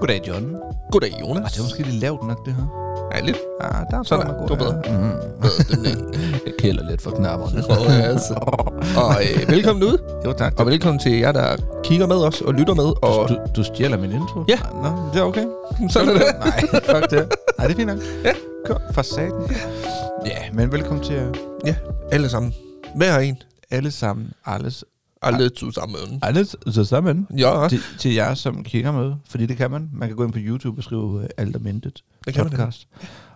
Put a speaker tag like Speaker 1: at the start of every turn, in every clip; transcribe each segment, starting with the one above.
Speaker 1: Goddag, John.
Speaker 2: Goddag, Jonas.
Speaker 1: Ej, det er måske lidt lavt nok, det her.
Speaker 2: Ja, lidt.
Speaker 1: Ja, der er
Speaker 2: Sådan,
Speaker 1: der,
Speaker 2: det var bedre.
Speaker 1: Mm.
Speaker 2: Jeg kælder lidt for knapperne. Og, altså. og øh, velkommen ud.
Speaker 1: Jo, tak.
Speaker 2: Og velkommen til jer, der kigger med os og lytter med. Og
Speaker 1: Du, du stjæler min intro?
Speaker 2: Ja.
Speaker 1: Nå, det er okay.
Speaker 2: sådan er det.
Speaker 1: Nej, fuck det. Nej, det er fint nok. Ja. Kom, for satan. Ja, men velkommen til jer
Speaker 2: Ja, alle sammen. Hver en.
Speaker 1: alle sammen. Alles.
Speaker 2: Alle sammen.
Speaker 1: Alles så sammen.
Speaker 2: Ja,
Speaker 1: Til, til jer, som kigger med, fordi det kan man. Man kan gå ind på YouTube og skrive uh, Alt om Intet
Speaker 2: Det kan man
Speaker 1: podcast.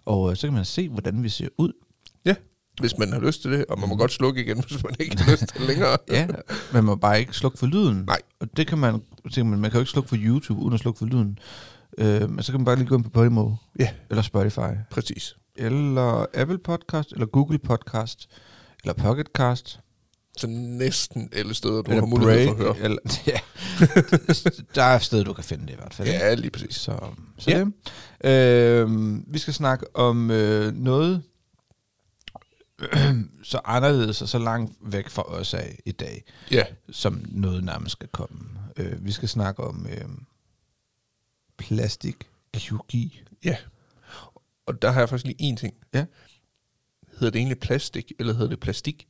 Speaker 1: Og øh, så kan man se, hvordan vi ser ud.
Speaker 2: hvis man har lyst til det. Og man må godt slukke igen, hvis man ikke har lyst til det længere.
Speaker 1: Mm. Ja, man må bare ikke slukke for lyden.
Speaker 2: Nej.
Speaker 1: Og det kan man, tænker man, man kan jo ikke slukke for YouTube uden at slukke for lyden. Øh, men så kan man bare lige gå ind på Podimo.
Speaker 2: Ja.
Speaker 1: Eller Spotify.
Speaker 2: Præcis.
Speaker 1: Eller Apple Podcast, eller Google Podcast, eller Pocketcast.
Speaker 2: Så næsten alle steder, du
Speaker 1: eller
Speaker 2: har mulighed for at høre.
Speaker 1: Break, Eller, ja. Der er et sted, du kan finde det i hvert fald. ikke?
Speaker 2: Ja, lige præcis.
Speaker 1: Så, så
Speaker 2: Ja.
Speaker 1: ja. det. Øh, vi skal snakke om øh, noget så anderledes og så langt væk fra os af i dag.
Speaker 2: Ja,
Speaker 1: som noget nærmest skal komme. Øh, vi skal snakke om øh, plastikkirurgi.
Speaker 2: ja. Og der har jeg faktisk lige én ting.
Speaker 1: Ja.
Speaker 2: Hedder det egentlig plastik, eller hedder det plastik?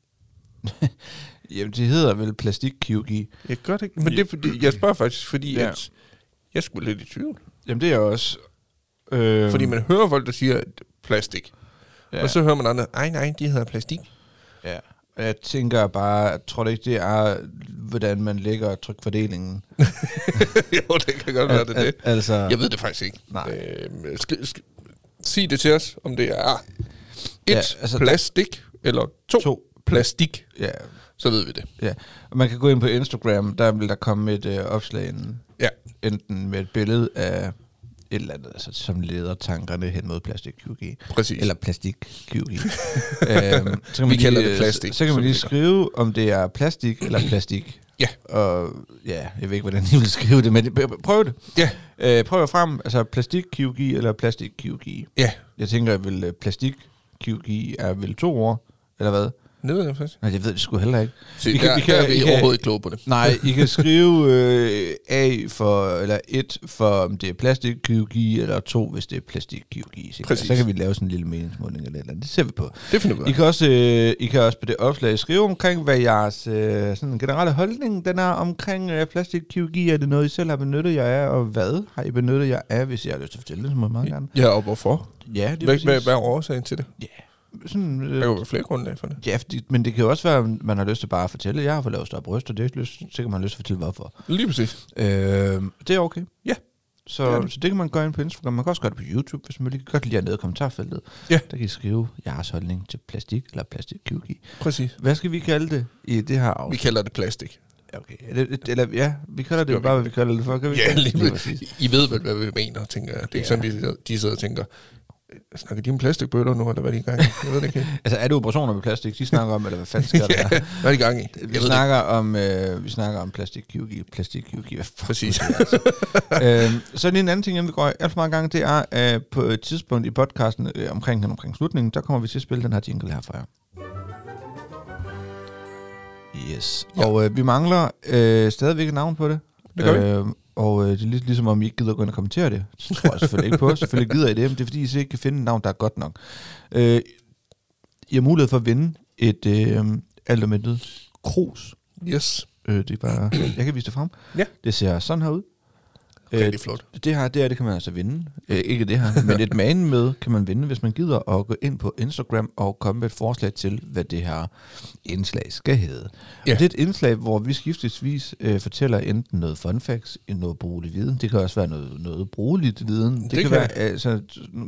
Speaker 1: Jamen, det hedder vel plastikkirurgi.
Speaker 2: Jeg gør det ikke, men det er fordi, jeg spørger faktisk, fordi
Speaker 1: Ja.
Speaker 2: ja. at jeg skulle lidt i tvivl.
Speaker 1: Jamen, det er også... Øh,
Speaker 2: Fordi man hører folk, der siger at plastik,
Speaker 1: Ja,
Speaker 2: ja. og så hører man andre, nej, nej, de hedder plastik.
Speaker 1: ja. Og jeg tænker bare, jeg tror det ikke, det er, hvordan man lægger trykfordelingen.
Speaker 2: jo, det kan godt være, det er det.
Speaker 1: Al- altså,
Speaker 2: Jeg ved det faktisk ikke.
Speaker 1: Nej.
Speaker 2: Øh, sk- sk- sig det til os, om det er et
Speaker 1: Ja,
Speaker 2: ja,
Speaker 1: altså,
Speaker 2: altså, plastik, eller to, to
Speaker 1: to.
Speaker 2: plastik,
Speaker 1: Ja,
Speaker 2: så ved vi det.
Speaker 1: ja. Og man kan gå ind på Instagram, der vil der komme et øh, opslag inden.
Speaker 2: Ja,
Speaker 1: enten med et billede af et eller andet, altså, som leder tankerne hen mod plastikkirurgi.
Speaker 2: præcis.
Speaker 1: Eller plastikkirurgi. øhm, så kan man
Speaker 2: Vi kalder
Speaker 1: lige, øh,
Speaker 2: det plastik,
Speaker 1: Så kan
Speaker 2: som
Speaker 1: man lige
Speaker 2: det gør.
Speaker 1: skrive, om det er plastik eller plastik.
Speaker 2: Ja.
Speaker 1: Og ja, jeg ved ikke, hvordan I vil skrive det, men det- prøv det.
Speaker 2: Ja,
Speaker 1: Øh, prøv jer frem, altså plastikkirurgi eller plastikkirurgi.
Speaker 2: ja.
Speaker 1: Jeg tænker, at vel, øh, plastikkirurgi er vel to år, eller hvad?
Speaker 2: Det ved jeg faktisk.
Speaker 1: Nej, jeg ved det sgu heller ikke.
Speaker 2: Se, vi kan, der, vi kan, der er vi
Speaker 1: I kan-
Speaker 2: overhovedet ikke kloge på det.
Speaker 1: Nej, I kan skrive øh, A for, eller 1 for, om det er plastikkirurgi, eller 2, hvis det er plastikkirurgi. sikkert.
Speaker 2: Præcis.
Speaker 1: Så kan vi lave sådan en lille meningsmåling eller et eller andet. Det ser vi på.
Speaker 2: Det finder vi ud
Speaker 1: I
Speaker 2: af.
Speaker 1: kan, også, øh, I kan også på det opslag skrive omkring, hvad jeres øh, sådan generelle holdning den er omkring øh, plastikkirurgi. Er det noget, I selv har benyttet jer af, og hvad har I benyttet jer af? Hvis jeg har lyst til at fortælle det, så må jeg meget gerne.
Speaker 2: Ja, og hvorfor?
Speaker 1: Ja, det er
Speaker 2: Hvad, hvad,
Speaker 1: præcis.
Speaker 2: hvad er årsagen til det?
Speaker 1: Sådan,
Speaker 2: Der
Speaker 1: øh,
Speaker 2: kan jo være flere grundlag for det.
Speaker 1: ja, fordi- men det kan jo også være, at man har lyst til bare at fortælle, jeg har fået lavet større bryst, og det er lyst, så kan man have lyst til at fortælle, hvorfor.
Speaker 2: Lige præcis.
Speaker 1: Øh, det er okay.
Speaker 2: Ja.
Speaker 1: Så,
Speaker 2: Det er
Speaker 1: det
Speaker 2: det.
Speaker 1: så det kan man gøre ind på Instagram. Man kan også gøre det på YouTube, hvis man lige kan godt lide nede i kommentarfeltet.
Speaker 2: Ja.
Speaker 1: Der kan I skrive jeres holdning til plastik eller plastikkirurgi.
Speaker 2: Præcis.
Speaker 1: Hvad skal vi kalde det i det her
Speaker 2: Vi
Speaker 1: afsnit?
Speaker 2: kalder det plastik.
Speaker 1: Okay. Eller, eller, ja, vi kalder det
Speaker 2: Gør
Speaker 1: jo
Speaker 2: vi.
Speaker 1: bare, hvad vi kalder det for. Kan vi
Speaker 2: Ja,
Speaker 1: ikke?
Speaker 2: lige, præcis. I ved vel, hvad vi mener, tænker jeg. Det er ikke
Speaker 1: Ja.
Speaker 2: sådan, de, sidder- de sidder og tænker, snakker de om plastikbøtter nu, eller hvad er de i gang i? Jeg ved det ikke.
Speaker 1: Altså, er det operationer med plastik, de snakker om, eller hvad fanden skal der?
Speaker 2: ja, hvad er de i gang i? Jeg
Speaker 1: Vi
Speaker 2: ved det.
Speaker 1: snakker, om, øh, vi snakker om plastikkirurgi, plastikkirurgi, hvad fuck
Speaker 2: Præcis.
Speaker 1: øhm, så lige en anden ting, inden vi går alt for mange gange, det er, at på et tidspunkt i podcasten øh, omkring, hen omkring slutningen, der kommer vi til at spille den her jingle her for jer. Yes.
Speaker 2: Ja.
Speaker 1: Ja. Og øh, vi mangler øh, stadigvæk et navn på det.
Speaker 2: Det gør vi.
Speaker 1: Øhm, og øh, det er lig- ligesom om I ikke gider gå ind og kommentere det. Det tror jeg selvfølgelig ikke på. Selvfølgelig gider I det, men det er fordi, I så ikke kan finde et navn, der er godt nok. Øh, I har mulighed for at vinde et øh, alt om intet krus.
Speaker 2: Yes.
Speaker 1: Øh, det er bare, jeg kan vise det frem.
Speaker 2: Ja.
Speaker 1: Det ser sådan her ud. Øh,
Speaker 2: Rigtig flot.
Speaker 1: det her, det her, det kan man altså vinde. Øh, ikke det her, men et magen med kan man vinde, hvis man gider at gå ind på Instagram og komme med et forslag til, hvad det her indslag skal hedde.
Speaker 2: Ja.
Speaker 1: Ja. Og det er et indslag, hvor vi skiftesvis øh, fortæller enten noget fun facts, en noget brugelig viden. Det kan også være noget, noget brugeligt viden. Det,
Speaker 2: Det
Speaker 1: det kan,
Speaker 2: kan
Speaker 1: kan være, altså,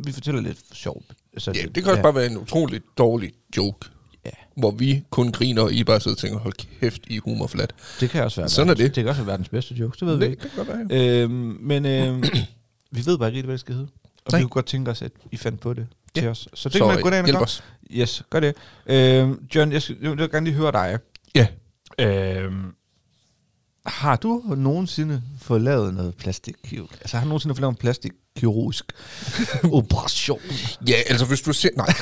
Speaker 1: vi fortæller lidt sjovt. Altså,
Speaker 2: Ja, det kan også
Speaker 1: ja,
Speaker 2: bare være en utrolig dårlig joke.
Speaker 1: Ja.
Speaker 2: Hvor vi kun griner, og I bare sidder og tænker, hold kæft, I er humorflat.
Speaker 1: det kan også være
Speaker 2: Sådan er
Speaker 1: verdens,
Speaker 2: det.
Speaker 1: Det kan også være verdens bedste joke, det ved vi
Speaker 2: Det,
Speaker 1: ikke.
Speaker 2: det kan godt være, jo.
Speaker 1: Øhm, men øhm, vi ved bare ikke rigtig, hvad det skal hedde. Og
Speaker 2: Nej.
Speaker 1: vi kunne godt tænke os, at I fandt på det
Speaker 2: Ja.
Speaker 1: til os. Så det
Speaker 2: Så
Speaker 1: kan man gå derind og
Speaker 2: hjælp
Speaker 1: gøre.
Speaker 2: os.
Speaker 1: Yes, gør det. Øhm, John, jeg, skal, jeg vil gerne lige høre dig.
Speaker 2: Ja.
Speaker 1: Øhm, har du nogensinde fået lavet noget plastikkirurg? Altså har du nogensinde fået lavet en plastikkirurgisk operation?
Speaker 2: Ja, altså hvis du ser... Nej.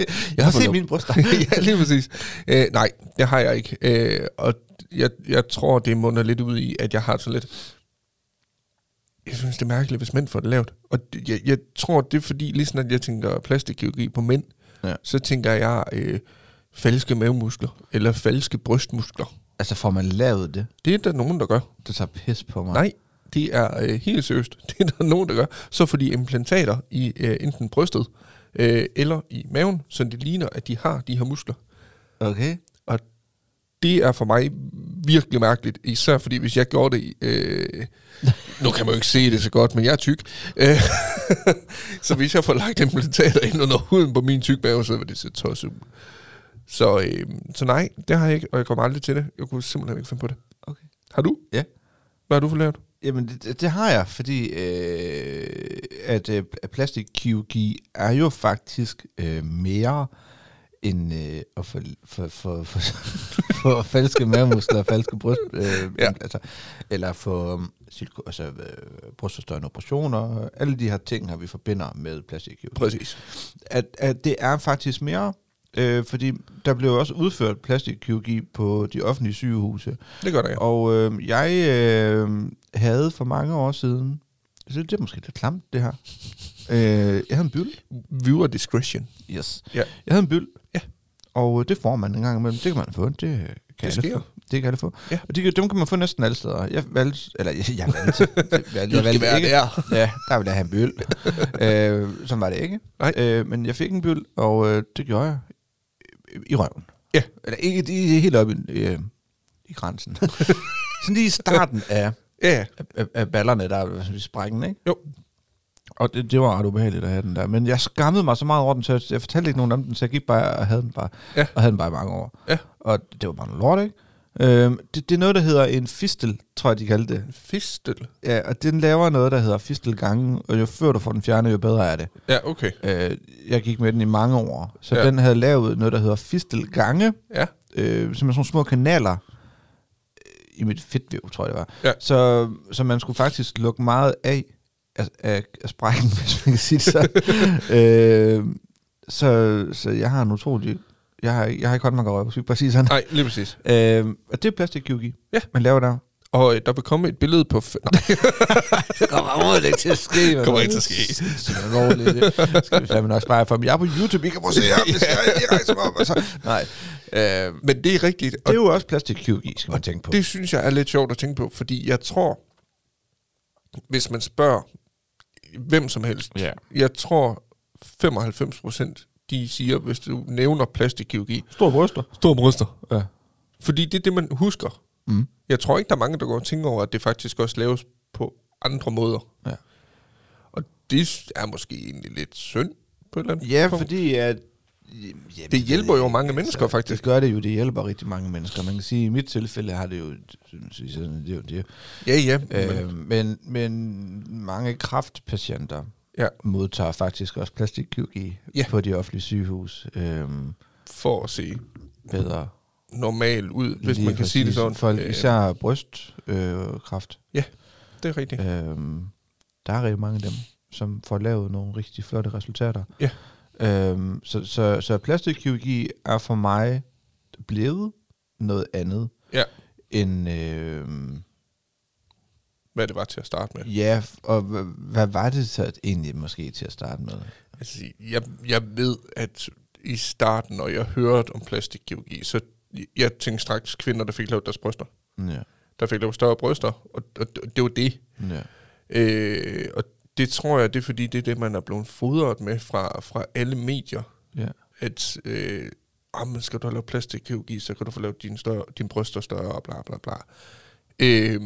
Speaker 1: Jeg har
Speaker 2: fået
Speaker 1: set
Speaker 2: lov.
Speaker 1: min bryster.
Speaker 2: ja, lige præcis. Øh, nej, det har jeg ikke. Øh, og jeg, jeg tror, det munder lidt ud i, at jeg har sådan lidt... jeg synes, det er mærkeligt, hvis mænd får det lavt. Og det- jeg, jeg tror, det er fordi, lige sådan, at jeg tænker plastikkirurgi på mænd,
Speaker 1: Ja.
Speaker 2: ja. så tænker jeg øh, falske mavemuskler, eller falske brystmuskler.
Speaker 1: Altså, får man lavet det?
Speaker 2: Det er der nogen, der gør.
Speaker 1: Det tager pis på mig.
Speaker 2: Nej, det er øh, helt seriøst. Det er der nogen, der gør. Så får de implantater i øh, enten brystet øh, eller i maven, så det ligner, at de har de her muskler.
Speaker 1: Okay.
Speaker 2: Og det er for mig virkelig mærkeligt, især fordi hvis jeg gjorde det... Øh, nu kan man jo ikke se det så godt, men jeg er tyk. Øh, så hvis jeg får lagt implantater ind under huden på min tyk mave, så vil det se tosset ud. Så, øh, så nej, det har jeg ikke, og jeg kommer aldrig til det. Jeg kunne simpelthen ikke finde på det.
Speaker 1: Okay.
Speaker 2: Har du?
Speaker 1: Ja.
Speaker 2: Hvad har du for lavet?
Speaker 1: Jamen, det- det, det har jeg, fordi øh, at øh, plastikkirurgi er jo faktisk øh, mere end øh, at for, for, for, for, for falske mavemuskler og falske bryst, øh,
Speaker 2: Ja.
Speaker 1: ja. altså, eller for um, silko, altså, øh, brystforstørrende operationer. Alle de her ting her, vi forbinder med plastikkirurgi
Speaker 2: Præcis.
Speaker 1: at, at det er faktisk mere, øh, fordi der blev også udført plastikkirurgi på de offentlige sygehuse.
Speaker 2: Det gør der, ja.
Speaker 1: Og øh, jeg øh, havde for mange år siden, jeg synes, det er måske lidt klamt, det her. øh, jeg havde en byld.
Speaker 2: Viewer discretion.
Speaker 1: Yes.
Speaker 2: Ja.
Speaker 1: Jeg havde en byld.
Speaker 2: Ja.
Speaker 1: Og øh, det får man en gang imellem. Det kan man få. Det øh, kan alle
Speaker 2: sker.
Speaker 1: Få. Det kan alle få.
Speaker 2: Ja.
Speaker 1: Og de, kan- dem kan man få næsten alle steder. Jeg valgte, eller jeg, jeg valgte, jeg valgte,
Speaker 2: Det
Speaker 1: jeg
Speaker 2: skal
Speaker 1: valgte
Speaker 2: være
Speaker 1: ikke,
Speaker 2: der.
Speaker 1: Ja, der ville jeg have en bøl. øh, sådan var det ikke.
Speaker 2: Nej.
Speaker 1: Øh, men jeg fik en bøl, og øh, det gjorde jeg i røven.
Speaker 2: Ja.
Speaker 1: Eller ikke det er helt oppe i, øh, i grænsen. sådan lige i starten af,
Speaker 2: Ja,
Speaker 1: af, af ballerne, der er sådan i sprækken, ikke?
Speaker 2: Jo.
Speaker 1: Og det, det var ret ubehageligt at have den der. Men jeg skammede mig så meget over den, så jeg, jeg fortalte ikke nogen om den, så jeg gik bare og havde den bare,
Speaker 2: Ja.
Speaker 1: og havde den bare i mange år.
Speaker 2: Ja.
Speaker 1: Og det var bare noget lort, ikke? Øhm, det, det er noget, der hedder en fistel, tror jeg, de kaldte det.
Speaker 2: fistel.
Speaker 1: Ja, og den laver noget, der hedder fistelgangen, og jo før du får den fjernet, jo bedre er det.
Speaker 2: Ja, okay.
Speaker 1: Øh, jeg gik med den i mange år, så
Speaker 2: Ja.
Speaker 1: ja. den havde lavet noget, der hedder fistelgange,
Speaker 2: Ja,
Speaker 1: øh, simpelthen sådan nogle små kanaler øh, i mit fedtvæv, tror jeg det var.
Speaker 2: Ja.
Speaker 1: Så, så man skulle faktisk lukke meget af af, af, af sprækken, hvis man kan sige det så. øh, så. Så jeg har en utrolig... Jeg har, ikke- jeg har ikke holdt mig godt på præcis sådan.
Speaker 2: nej, lige præcis.
Speaker 1: Øh, og det er plastikkirurgi,
Speaker 2: Ja.
Speaker 1: man laver der.
Speaker 2: Og øh, der vil komme et billede på... F- nej,
Speaker 1: Det kommer overhovedet ikke til at ske.
Speaker 2: Det kommer ikke til at ske.
Speaker 1: Så er det roligt. Det skal vi fandme nok spare for. Men jeg er på YouTube, I kan måske se ham. Hvis jeg lige rejser mig op. og så- Nej. Øh,
Speaker 2: men det er rigtigt.
Speaker 1: det
Speaker 2: Og
Speaker 1: er jo også plastikkirurgi, skal man tænke på.
Speaker 2: det synes jeg er lidt sjovt at tænke på, fordi jeg tror, hvis man spørger hvem som helst,
Speaker 1: Ja.
Speaker 2: jeg tror 95 procent, de siger, hvis du nævner plastikkirurgi,
Speaker 1: Store bryster.
Speaker 2: store bryster.
Speaker 1: Ja.
Speaker 2: Fordi det er det, man husker.
Speaker 1: Mm.
Speaker 2: Jeg tror ikke, der er mange, der går og tænker over, at det faktisk også laves på andre måder.
Speaker 1: Ja.
Speaker 2: Og det er måske egentlig lidt synd på et eller andet
Speaker 1: ja,
Speaker 2: punkt.
Speaker 1: fordi at...
Speaker 2: Det hjælper jo mange mennesker, faktisk.
Speaker 1: altså. Det gør det jo, det hjælper rigtig mange mennesker. Man kan sige, at i mit tilfælde har det jo... synes jeg, sådan, Det er jo det.
Speaker 2: Ja, ja. Øh,
Speaker 1: Øh, men, men mange kraftpatienter
Speaker 2: Ja.
Speaker 1: modtager faktisk også plastikkirurgi
Speaker 2: Ja.
Speaker 1: på de offentlige sygehus. Øh,
Speaker 2: for at se
Speaker 1: bedre
Speaker 2: normal ud, hvis
Speaker 1: Lige
Speaker 2: man kan sige det
Speaker 1: præcis.
Speaker 2: sådan.
Speaker 1: Folk,
Speaker 2: Øh,
Speaker 1: især brystkræft. Øh, kræft.
Speaker 2: det er rigtigt.
Speaker 1: øhm, der er rigtig mange af dem, som får lavet nogle rigtig flotte resultater.
Speaker 2: Ja.
Speaker 1: Øhm, så, så, så plastikkirurgi er for mig blevet noget andet.
Speaker 2: Ja.
Speaker 1: End, øh,
Speaker 2: Hvad det var til at starte med.
Speaker 1: ja, og hva- hvad var det så egentlig måske til at starte med?
Speaker 2: Altså, jeg, jeg ved, at i starten, når jeg hørte om plastikkirurgi, så jeg tænkte straks kvinder, der fik lavet deres bryster.
Speaker 1: Ja.
Speaker 2: Der fik lavet større bryster, og, og, og det var det.
Speaker 1: ja.
Speaker 2: Øh, og det tror jeg, det er fordi, det er det, man er blevet fodret med fra, fra alle medier.
Speaker 1: Ja.
Speaker 2: At, øh, ah, men skal du have lavet plastikkirurgi, så kan du få lavet dine, større, dine bryster større, og bla bla bla. Øh,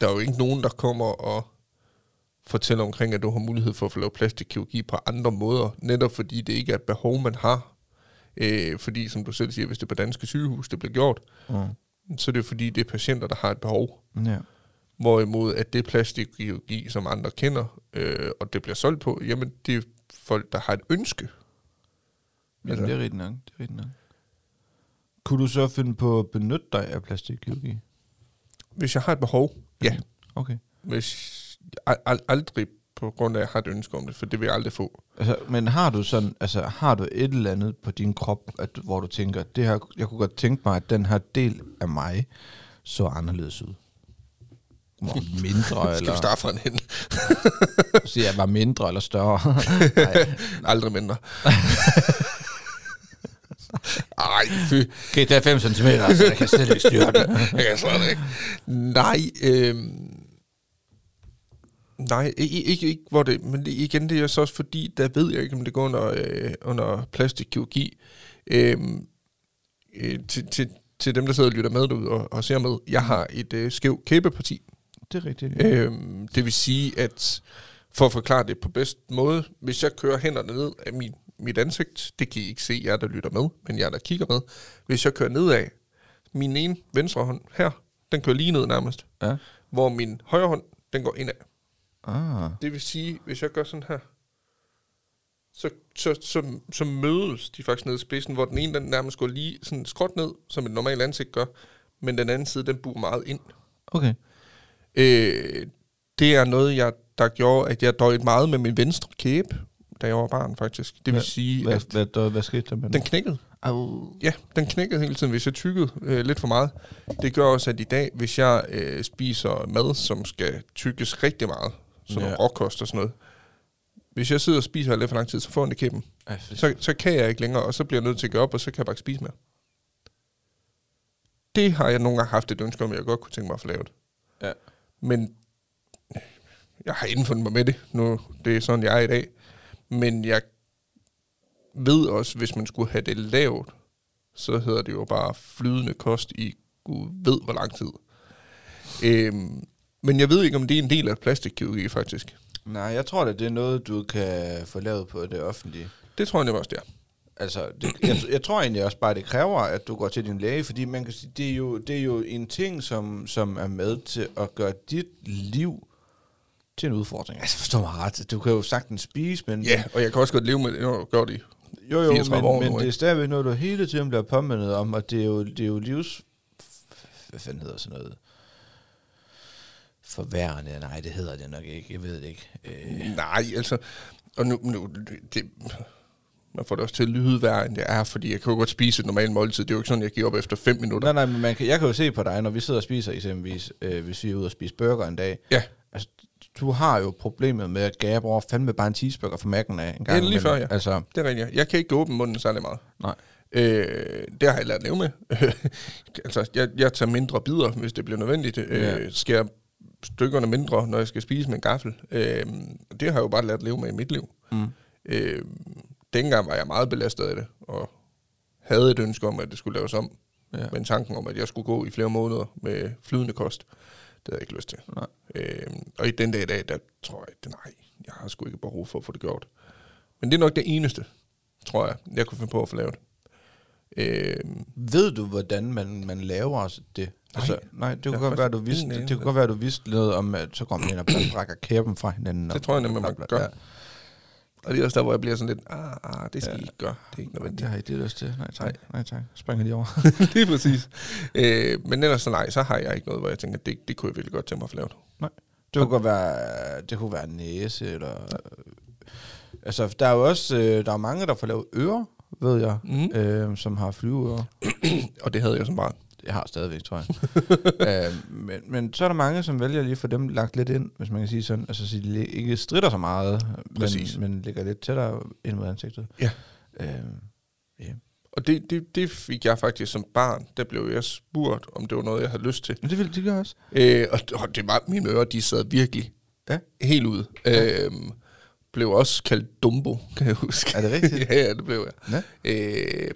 Speaker 2: der er jo ikke nogen, der kommer og fortæller omkring, at du har mulighed for at få lavet plastikkirurgi på andre måder, netop fordi det ikke er et behov, man har. Øh, fordi, som du selv siger, hvis det er på danske sygehus, det bliver gjort,
Speaker 1: Mm.
Speaker 2: så er det jo fordi, det er patienter, der har et behov.
Speaker 1: ja.
Speaker 2: Hvorimod at det plastikkirurgi, som andre kender, øh, og det bliver solgt på, jamen det er folk, der har et ønske.
Speaker 1: Jamen, det er rigtigt nok. Det er rigtigt nok. Kunne du så finde på at benytte dig af plastikkirurgi?
Speaker 2: Hvis jeg har et behov, ja.
Speaker 1: Okay.
Speaker 2: Hvis al- al- aldrig på grund af, at jeg har et ønske om det, for det vil jeg aldrig få.
Speaker 1: Altså, men har du sådan, altså har du et eller andet på din krop, at, hvor du tænker, det her, jeg kunne godt tænke mig, at den her del af mig så anderledes ud? Hvor mindre,
Speaker 2: Skal
Speaker 1: eller...
Speaker 2: vi starte fra en ende?
Speaker 1: Siger jeg var mindre eller større?
Speaker 2: Aldrig mindre. Ej, fy.
Speaker 1: Okay, det er 5 cm, så jeg kan slet ikke styre det.
Speaker 2: Jeg kan slet ikke. Nej, øhm, Nej, ikke, ikke, ikke hvor det... Men det, igen, det er jo så også fordi, der ved jeg ikke, om det går under, øh, under plastikkirurgi. Øhm, øh, til, til, til dem, der sidder og lytter med derude og, og ser med, jeg har et øh, skævt kæbeparti.
Speaker 1: Det er rigtigt. Ja.
Speaker 2: Øhm, det vil sige, at for at forklare det på bedst måde, hvis jeg kører hænderne ned af min, mit ansigt, det kan I ikke se, jer der lytter med, men jer der kigger med, hvis jeg kører nedad, min ene venstre hånd her, den kører lige ned nærmest,
Speaker 1: ja.
Speaker 2: hvor min højre hånd, den går indad.
Speaker 1: Ah.
Speaker 2: Det vil sige, hvis jeg gør sådan her, så, så, så, så mødes de faktisk nede i spidsen, hvor den ene den nærmest går lige sådan skråt ned, som et normalt ansigt gør, men den anden side, den buer meget ind.
Speaker 1: Okay.
Speaker 2: Øh, det er noget, jeg, der gjorde, at jeg døjede meget med min venstre kæbe, da jeg var barn faktisk. Det vil
Speaker 1: Hvad-
Speaker 2: sige,
Speaker 1: Hvad,
Speaker 2: at
Speaker 1: hvad, hvad, hvad skete der med
Speaker 2: den knækkede.
Speaker 1: Au.
Speaker 2: Ja, den knækkede hele tiden, hvis jeg tykkede øh, lidt for meget. Det gør også, at i dag, hvis jeg øh, spiser mad, som skal tykkes rigtig meget, sådan
Speaker 1: Ja.
Speaker 2: ja. råkost og sådan noget, hvis jeg sidder og spiser lidt for lang tid, så får jeg den i kæben.
Speaker 1: Ej, for-
Speaker 2: Så, så kan jeg ikke længere, og så bliver jeg nødt til at gøre op, og så kan jeg bare ikke spise mere. Det har jeg nogle gange haft et ønske om, jeg godt kunne tænke mig at få lavet.
Speaker 1: Ja.
Speaker 2: Men jeg har indfundet mig med det. Nu, det er sådan, jeg er i dag. Men jeg ved også, hvis man skulle have det lavt, så hedder det jo bare flydende kost i gud ved hvor lang tid. Øhm, men jeg ved ikke, om det er en del af plastikkirurgi, faktisk.
Speaker 1: Nej, jeg tror da, det er noget, du kan få lavet på det offentlige.
Speaker 2: Det tror jeg nemlig også, det er.
Speaker 1: Altså, det, jeg, jeg tror egentlig også bare, det kræver, at du går til din læge, fordi man kan sige, det er jo, det er jo en ting, som, som er med til at gøre dit liv til en udfordring. Altså, forstår mig ret. Du kan jo sagtens spise, men...
Speaker 2: Ja, og jeg kan også godt leve med det, når du gør det.
Speaker 1: Jo, jo,
Speaker 2: 34 år
Speaker 1: men,
Speaker 2: nu,
Speaker 1: men det er
Speaker 2: ikke?
Speaker 1: stadigvæk noget, du hele tiden bliver påmindet om, og det er jo, det er jo livs... Hvad fanden hedder sådan noget? Forværende? Nej, det hedder det nok ikke. Jeg ved det ikke. Øh,
Speaker 2: Nej, altså... Og nu, nu det, man får det også til at lyde værre, end det er, fordi jeg kan jo godt spise et normalt måltid. Det er jo ikke sådan, jeg giver op efter 5 minutter.
Speaker 1: nej, nej, men man kan, jeg kan jo se på dig, når vi sidder og spiser eksempelvis, øh, hvis vi er ude og spise burger en dag.
Speaker 2: Ja,
Speaker 1: Altså, du har jo problemet med at gabe over fandme bare en cheeseburger fra Mac'en af en gang.
Speaker 2: Ja, lige
Speaker 1: imellem.
Speaker 2: før, ja.
Speaker 1: Altså,
Speaker 2: det er rigtigt. Jeg kan ikke åbne munden særlig meget.
Speaker 1: nej.
Speaker 2: Øh, det har jeg lært at leve med. altså, jeg, jeg tager mindre bidder, hvis det bliver nødvendigt. Øh,
Speaker 1: Ja.
Speaker 2: Skærer stykkerne mindre, når jeg skal spise med en gaffel. Øh, det har jeg jo bare lært at leve med i mit liv.
Speaker 1: Mm.
Speaker 2: Øh, dengang var jeg meget belastet af det, og havde et ønske om, at det skulle laves om.
Speaker 1: Ja.
Speaker 2: Ja. Men tanken om, at jeg skulle gå i flere måneder med flydende kost, det havde jeg ikke lyst til.
Speaker 1: Nej.
Speaker 2: Øh, og i den dag i dag, der tror jeg, at nej, jeg har sgu ikke behov for at få det gjort. Men det er nok det eneste, tror jeg, jeg kunne finde på at få lavet. Øh,
Speaker 1: Ved du, hvordan man, man laver det? Nej, altså, nej det, kunne
Speaker 2: har
Speaker 1: godt
Speaker 2: faktisk
Speaker 1: være, du vidste,
Speaker 2: ingen
Speaker 1: det,
Speaker 2: anelse.
Speaker 1: det kunne godt være, du vidste noget om, at så kommer man ind og bare brækker kæben fra hinanden.
Speaker 2: Det
Speaker 1: og
Speaker 2: tror jeg nemlig, man
Speaker 1: blablabla.
Speaker 2: gør.
Speaker 1: Ja.
Speaker 2: Og det er også der, hvor jeg bliver sådan lidt, ah, ah det skal ja. I ikke gøre. Det er ikke
Speaker 1: Men det
Speaker 2: nødvendigt.
Speaker 1: har jeg ikke lyst til. Nej tak. Nej tak. Springer lige over.
Speaker 2: Lige præcis. Øh, men ellers så nej, så har jeg ikke noget, hvor jeg tænker, det, det kunne jeg virkelig godt tænke mig at få lavet.
Speaker 1: Nej. Det kunne godt være, det kunne være næse, eller... Altså, der er jo også, øh, der er mange, der får lavet ører, ved jeg,
Speaker 2: Mhm.
Speaker 1: øh, som har flyveører.
Speaker 2: Og det havde jeg som barn.
Speaker 1: Jeg har stadigvæk, tror jeg. øh, men, men så er der mange, som vælger lige at få dem lagt lidt ind, hvis man kan sige sådan. Altså, så de lig- ikke strider så meget, men,
Speaker 2: Præcis.
Speaker 1: men ligger lidt tættere ind mod ansigtet.
Speaker 2: Ja.
Speaker 1: Øh, ja.
Speaker 2: Og det, det, det fik jeg faktisk som barn. Der blev jeg spurgt, om det var noget, jeg havde lyst til.
Speaker 1: Men det vil de gøre også.
Speaker 2: Øh, og, og det var mine ører, de sad virkelig
Speaker 1: Ja.
Speaker 2: helt ude. Øh, blev også kaldt Dumbo, kan jeg huske.
Speaker 1: Er det rigtigt?
Speaker 2: ja, ja, det blev jeg.
Speaker 1: Ja.
Speaker 2: Øh,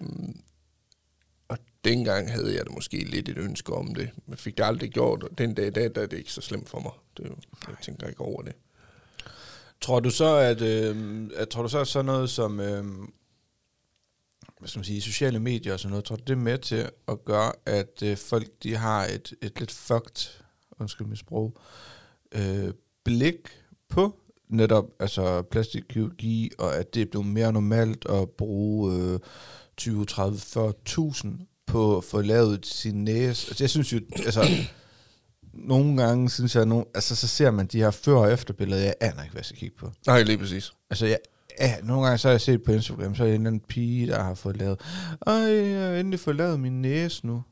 Speaker 2: og dengang havde jeg da måske lidt et ønske om det. Men fik det aldrig gjort, og den dag i dag, der er det ikke så slemt for mig. Det, er jo- jeg tænker ikke over det.
Speaker 1: Tror du så, at, øh, at tror du så, at sådan noget som øh, hvad skal man sige, sociale medier og sådan noget, tror du det er med til at gøre, at øh, folk de har et, et lidt fucked, undskyld mit sprog, øh, blik på netop altså plastikkirurgi, og at det er blevet mere normalt at bruge øh, 20, 30, 40.000 på at få lavet sin næse. Altså, jeg synes jo, altså, nogle gange synes jeg, no, altså, så ser man de her før- og efterbilleder, jeg aner ikke, hvad jeg skal kigge på.
Speaker 2: Nej, lige præcis.
Speaker 1: Altså, jeg, ja, nogle gange så har jeg set på Instagram, så er der en eller anden pige, der har fået lavet, Øj, jeg har endelig fået lavet min næse nu.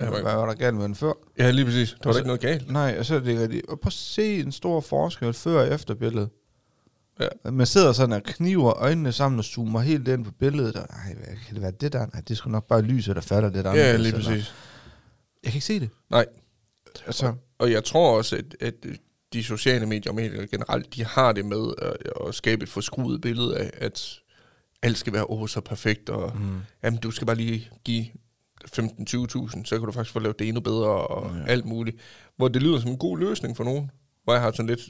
Speaker 2: Ja,
Speaker 1: Hvad var der galt med den før?
Speaker 2: Ja, lige præcis. Der var da ikke noget galt.
Speaker 1: Nej, og så ligger de... Og prøv at se en stor forskel før og efter billedet.
Speaker 2: Ja.
Speaker 1: Man sidder sådan og kniver øjnene sammen og zoomer helt ind på billedet. Og, Ej, hvad kan det være det der? Nej, det skulle nok bare lyset, der falder det der.
Speaker 2: Ja,
Speaker 1: anderledes,
Speaker 2: lige
Speaker 1: eller-
Speaker 2: præcis.
Speaker 1: Jeg kan ikke se det.
Speaker 2: Nej,
Speaker 1: Altså,
Speaker 2: og jeg tror også, at, at de sociale medier og medier generelt, de har det med at, at skabe et forskruet billede af, at alt skal være åh, så perfekt, og mm. jamen, du skal bare lige give 15-20.000, så kan du faktisk få lavet det endnu bedre, og ja. alt muligt. Hvor det lyder som en god løsning for nogen, hvor jeg har sådan lidt,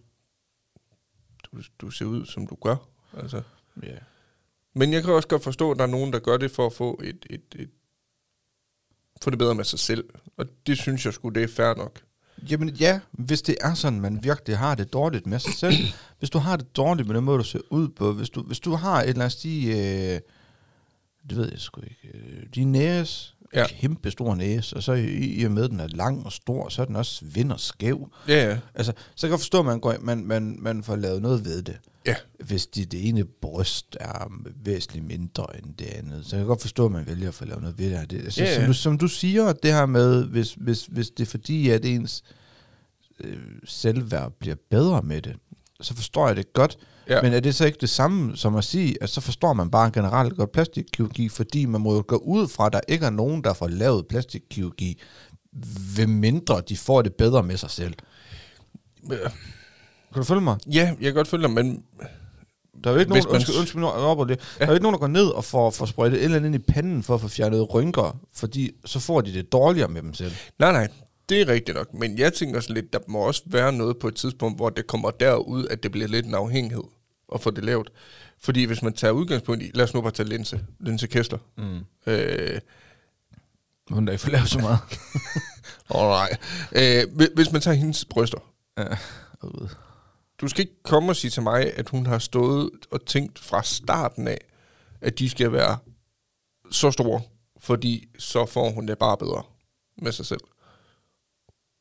Speaker 2: du, du ser ud, som du gør. Altså.
Speaker 1: ja.
Speaker 2: Men jeg kan også godt forstå, at der er nogen, der gør det for at få et, et, et få det bedre med sig selv. Og det synes jeg skulle det er fair nok.
Speaker 1: Jamen ja, hvis det er sådan, man virkelig har det dårligt med sig selv. hvis du har det dårligt med den måde, du ser ud på. Hvis du, hvis du har et, lad os sige, øh, det ved jeg sgu ikke, øh, din næse,
Speaker 2: Ja.
Speaker 1: ja. kæmpe stor næse, og så i, i og med, at den er lang og stor, så er den også vind og skæv.
Speaker 2: Ja, ja.
Speaker 1: Altså, så kan jeg forstå, at man, går, man, man, man får lavet noget ved det.
Speaker 2: Ja.
Speaker 1: Hvis det, det ene bryst er væsentligt mindre end det andet, så kan jeg godt forstå, at man vælger at få lavet noget ved det. her. det altså,
Speaker 2: Ja,
Speaker 1: ja,
Speaker 2: ja.
Speaker 1: Som, du, som du siger, det her med, hvis, hvis, hvis det er fordi, at ens øh, selvværd bliver bedre med det, så forstår jeg det godt.
Speaker 2: Ja.
Speaker 1: Ja. Men er det så ikke det samme som at sige, at så forstår man bare generelt godt plastikkirurgi, fordi man må jo gå ud fra, at der ikke er nogen, der får lavet plastikkirurgi, ved mindre de får det bedre med sig selv. Kan du følge mig?
Speaker 2: Ja, jeg kan godt følge dig, men
Speaker 1: Der er jo ikke
Speaker 2: Hvis
Speaker 1: nogen,
Speaker 2: man-
Speaker 1: man... undskyld, undskyld, nu er jeg oppe på det. Der er jo ikke nogen, der går ned og får, får sprøjtet et eller andet ind i panden for at få fjernet rynker, fordi så får de det dårligere med dem selv.
Speaker 2: nej, nej, det er rigtigt nok. Men jeg tænker sådan lidt, der må også være noget på et tidspunkt, hvor det kommer derud, at det bliver lidt en afhængighed at få det lavet. Fordi hvis man tager udgangspunkt i, lad os nu bare tage Linse, Linse Kessler. Mm. Øh,
Speaker 1: Hun der ikke får lavet så meget.
Speaker 2: alright. Øh, hvi- hvis man tager hendes bryster,
Speaker 1: Ud.
Speaker 2: du skal ikke komme og sige til mig, at hun har stået og tænkt fra starten af, at de skal være så store, fordi så får hun det bare bedre med sig selv.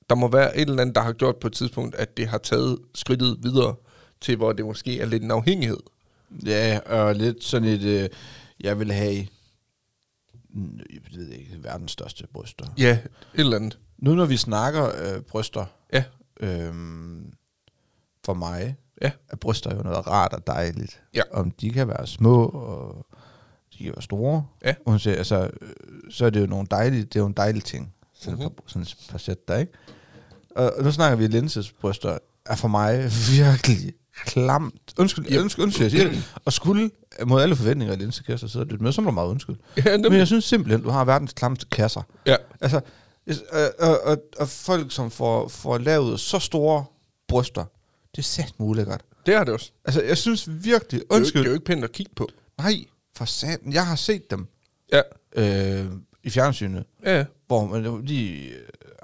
Speaker 2: Der må være et eller andet, der har gjort på et tidspunkt, at det har taget skridtet videre til, hvor det måske er lidt en afhængighed.
Speaker 1: ja, og lidt sådan et, øh, jeg vil have, mm, jeg ved ikke, verdens største bryster.
Speaker 2: Ja, et eller andet.
Speaker 1: Nu når vi snakker øh, bryster,
Speaker 2: Ja,
Speaker 1: øh, for mig,
Speaker 2: ja,
Speaker 1: er bryster jo noget rart og dejligt.
Speaker 2: Ja.
Speaker 1: Om de kan være små, og de kan være store.
Speaker 2: Ja.
Speaker 1: Og hun siger, altså, øh, så er det jo nogle dejlige, det er jo en dejlig ting. Sådan, mm-hmm.
Speaker 2: Mhm.
Speaker 1: par, sådan et par sæt der, ikke? Og, og nu snakker vi, at Linses bryster er for mig virkelig klamt. Undskyld, yep. undskyld, undskyld, jeg siger det. Og skulle mod alle forventninger, at Linse kasser sidder og lytter med, så må du meget undskyld.
Speaker 2: Ja, nemlig.
Speaker 1: Men jeg synes simpelthen, du har verdens klamste kasser.
Speaker 2: ja,
Speaker 1: Altså, hvis- øh, og, og, og folk, som får, får lavet så store bryster, det er sandt muligt godt.
Speaker 2: det har det også.
Speaker 1: Altså, jeg synes virkelig,
Speaker 2: Det er, jo, ikke-
Speaker 1: undskyld,
Speaker 2: det er jo ikke pænt at kigge på.
Speaker 1: nej, for satan, jeg har set dem
Speaker 2: Ja,
Speaker 1: øh, i fjernsynet,
Speaker 2: ja, ja.
Speaker 1: hvor man jo lige øh,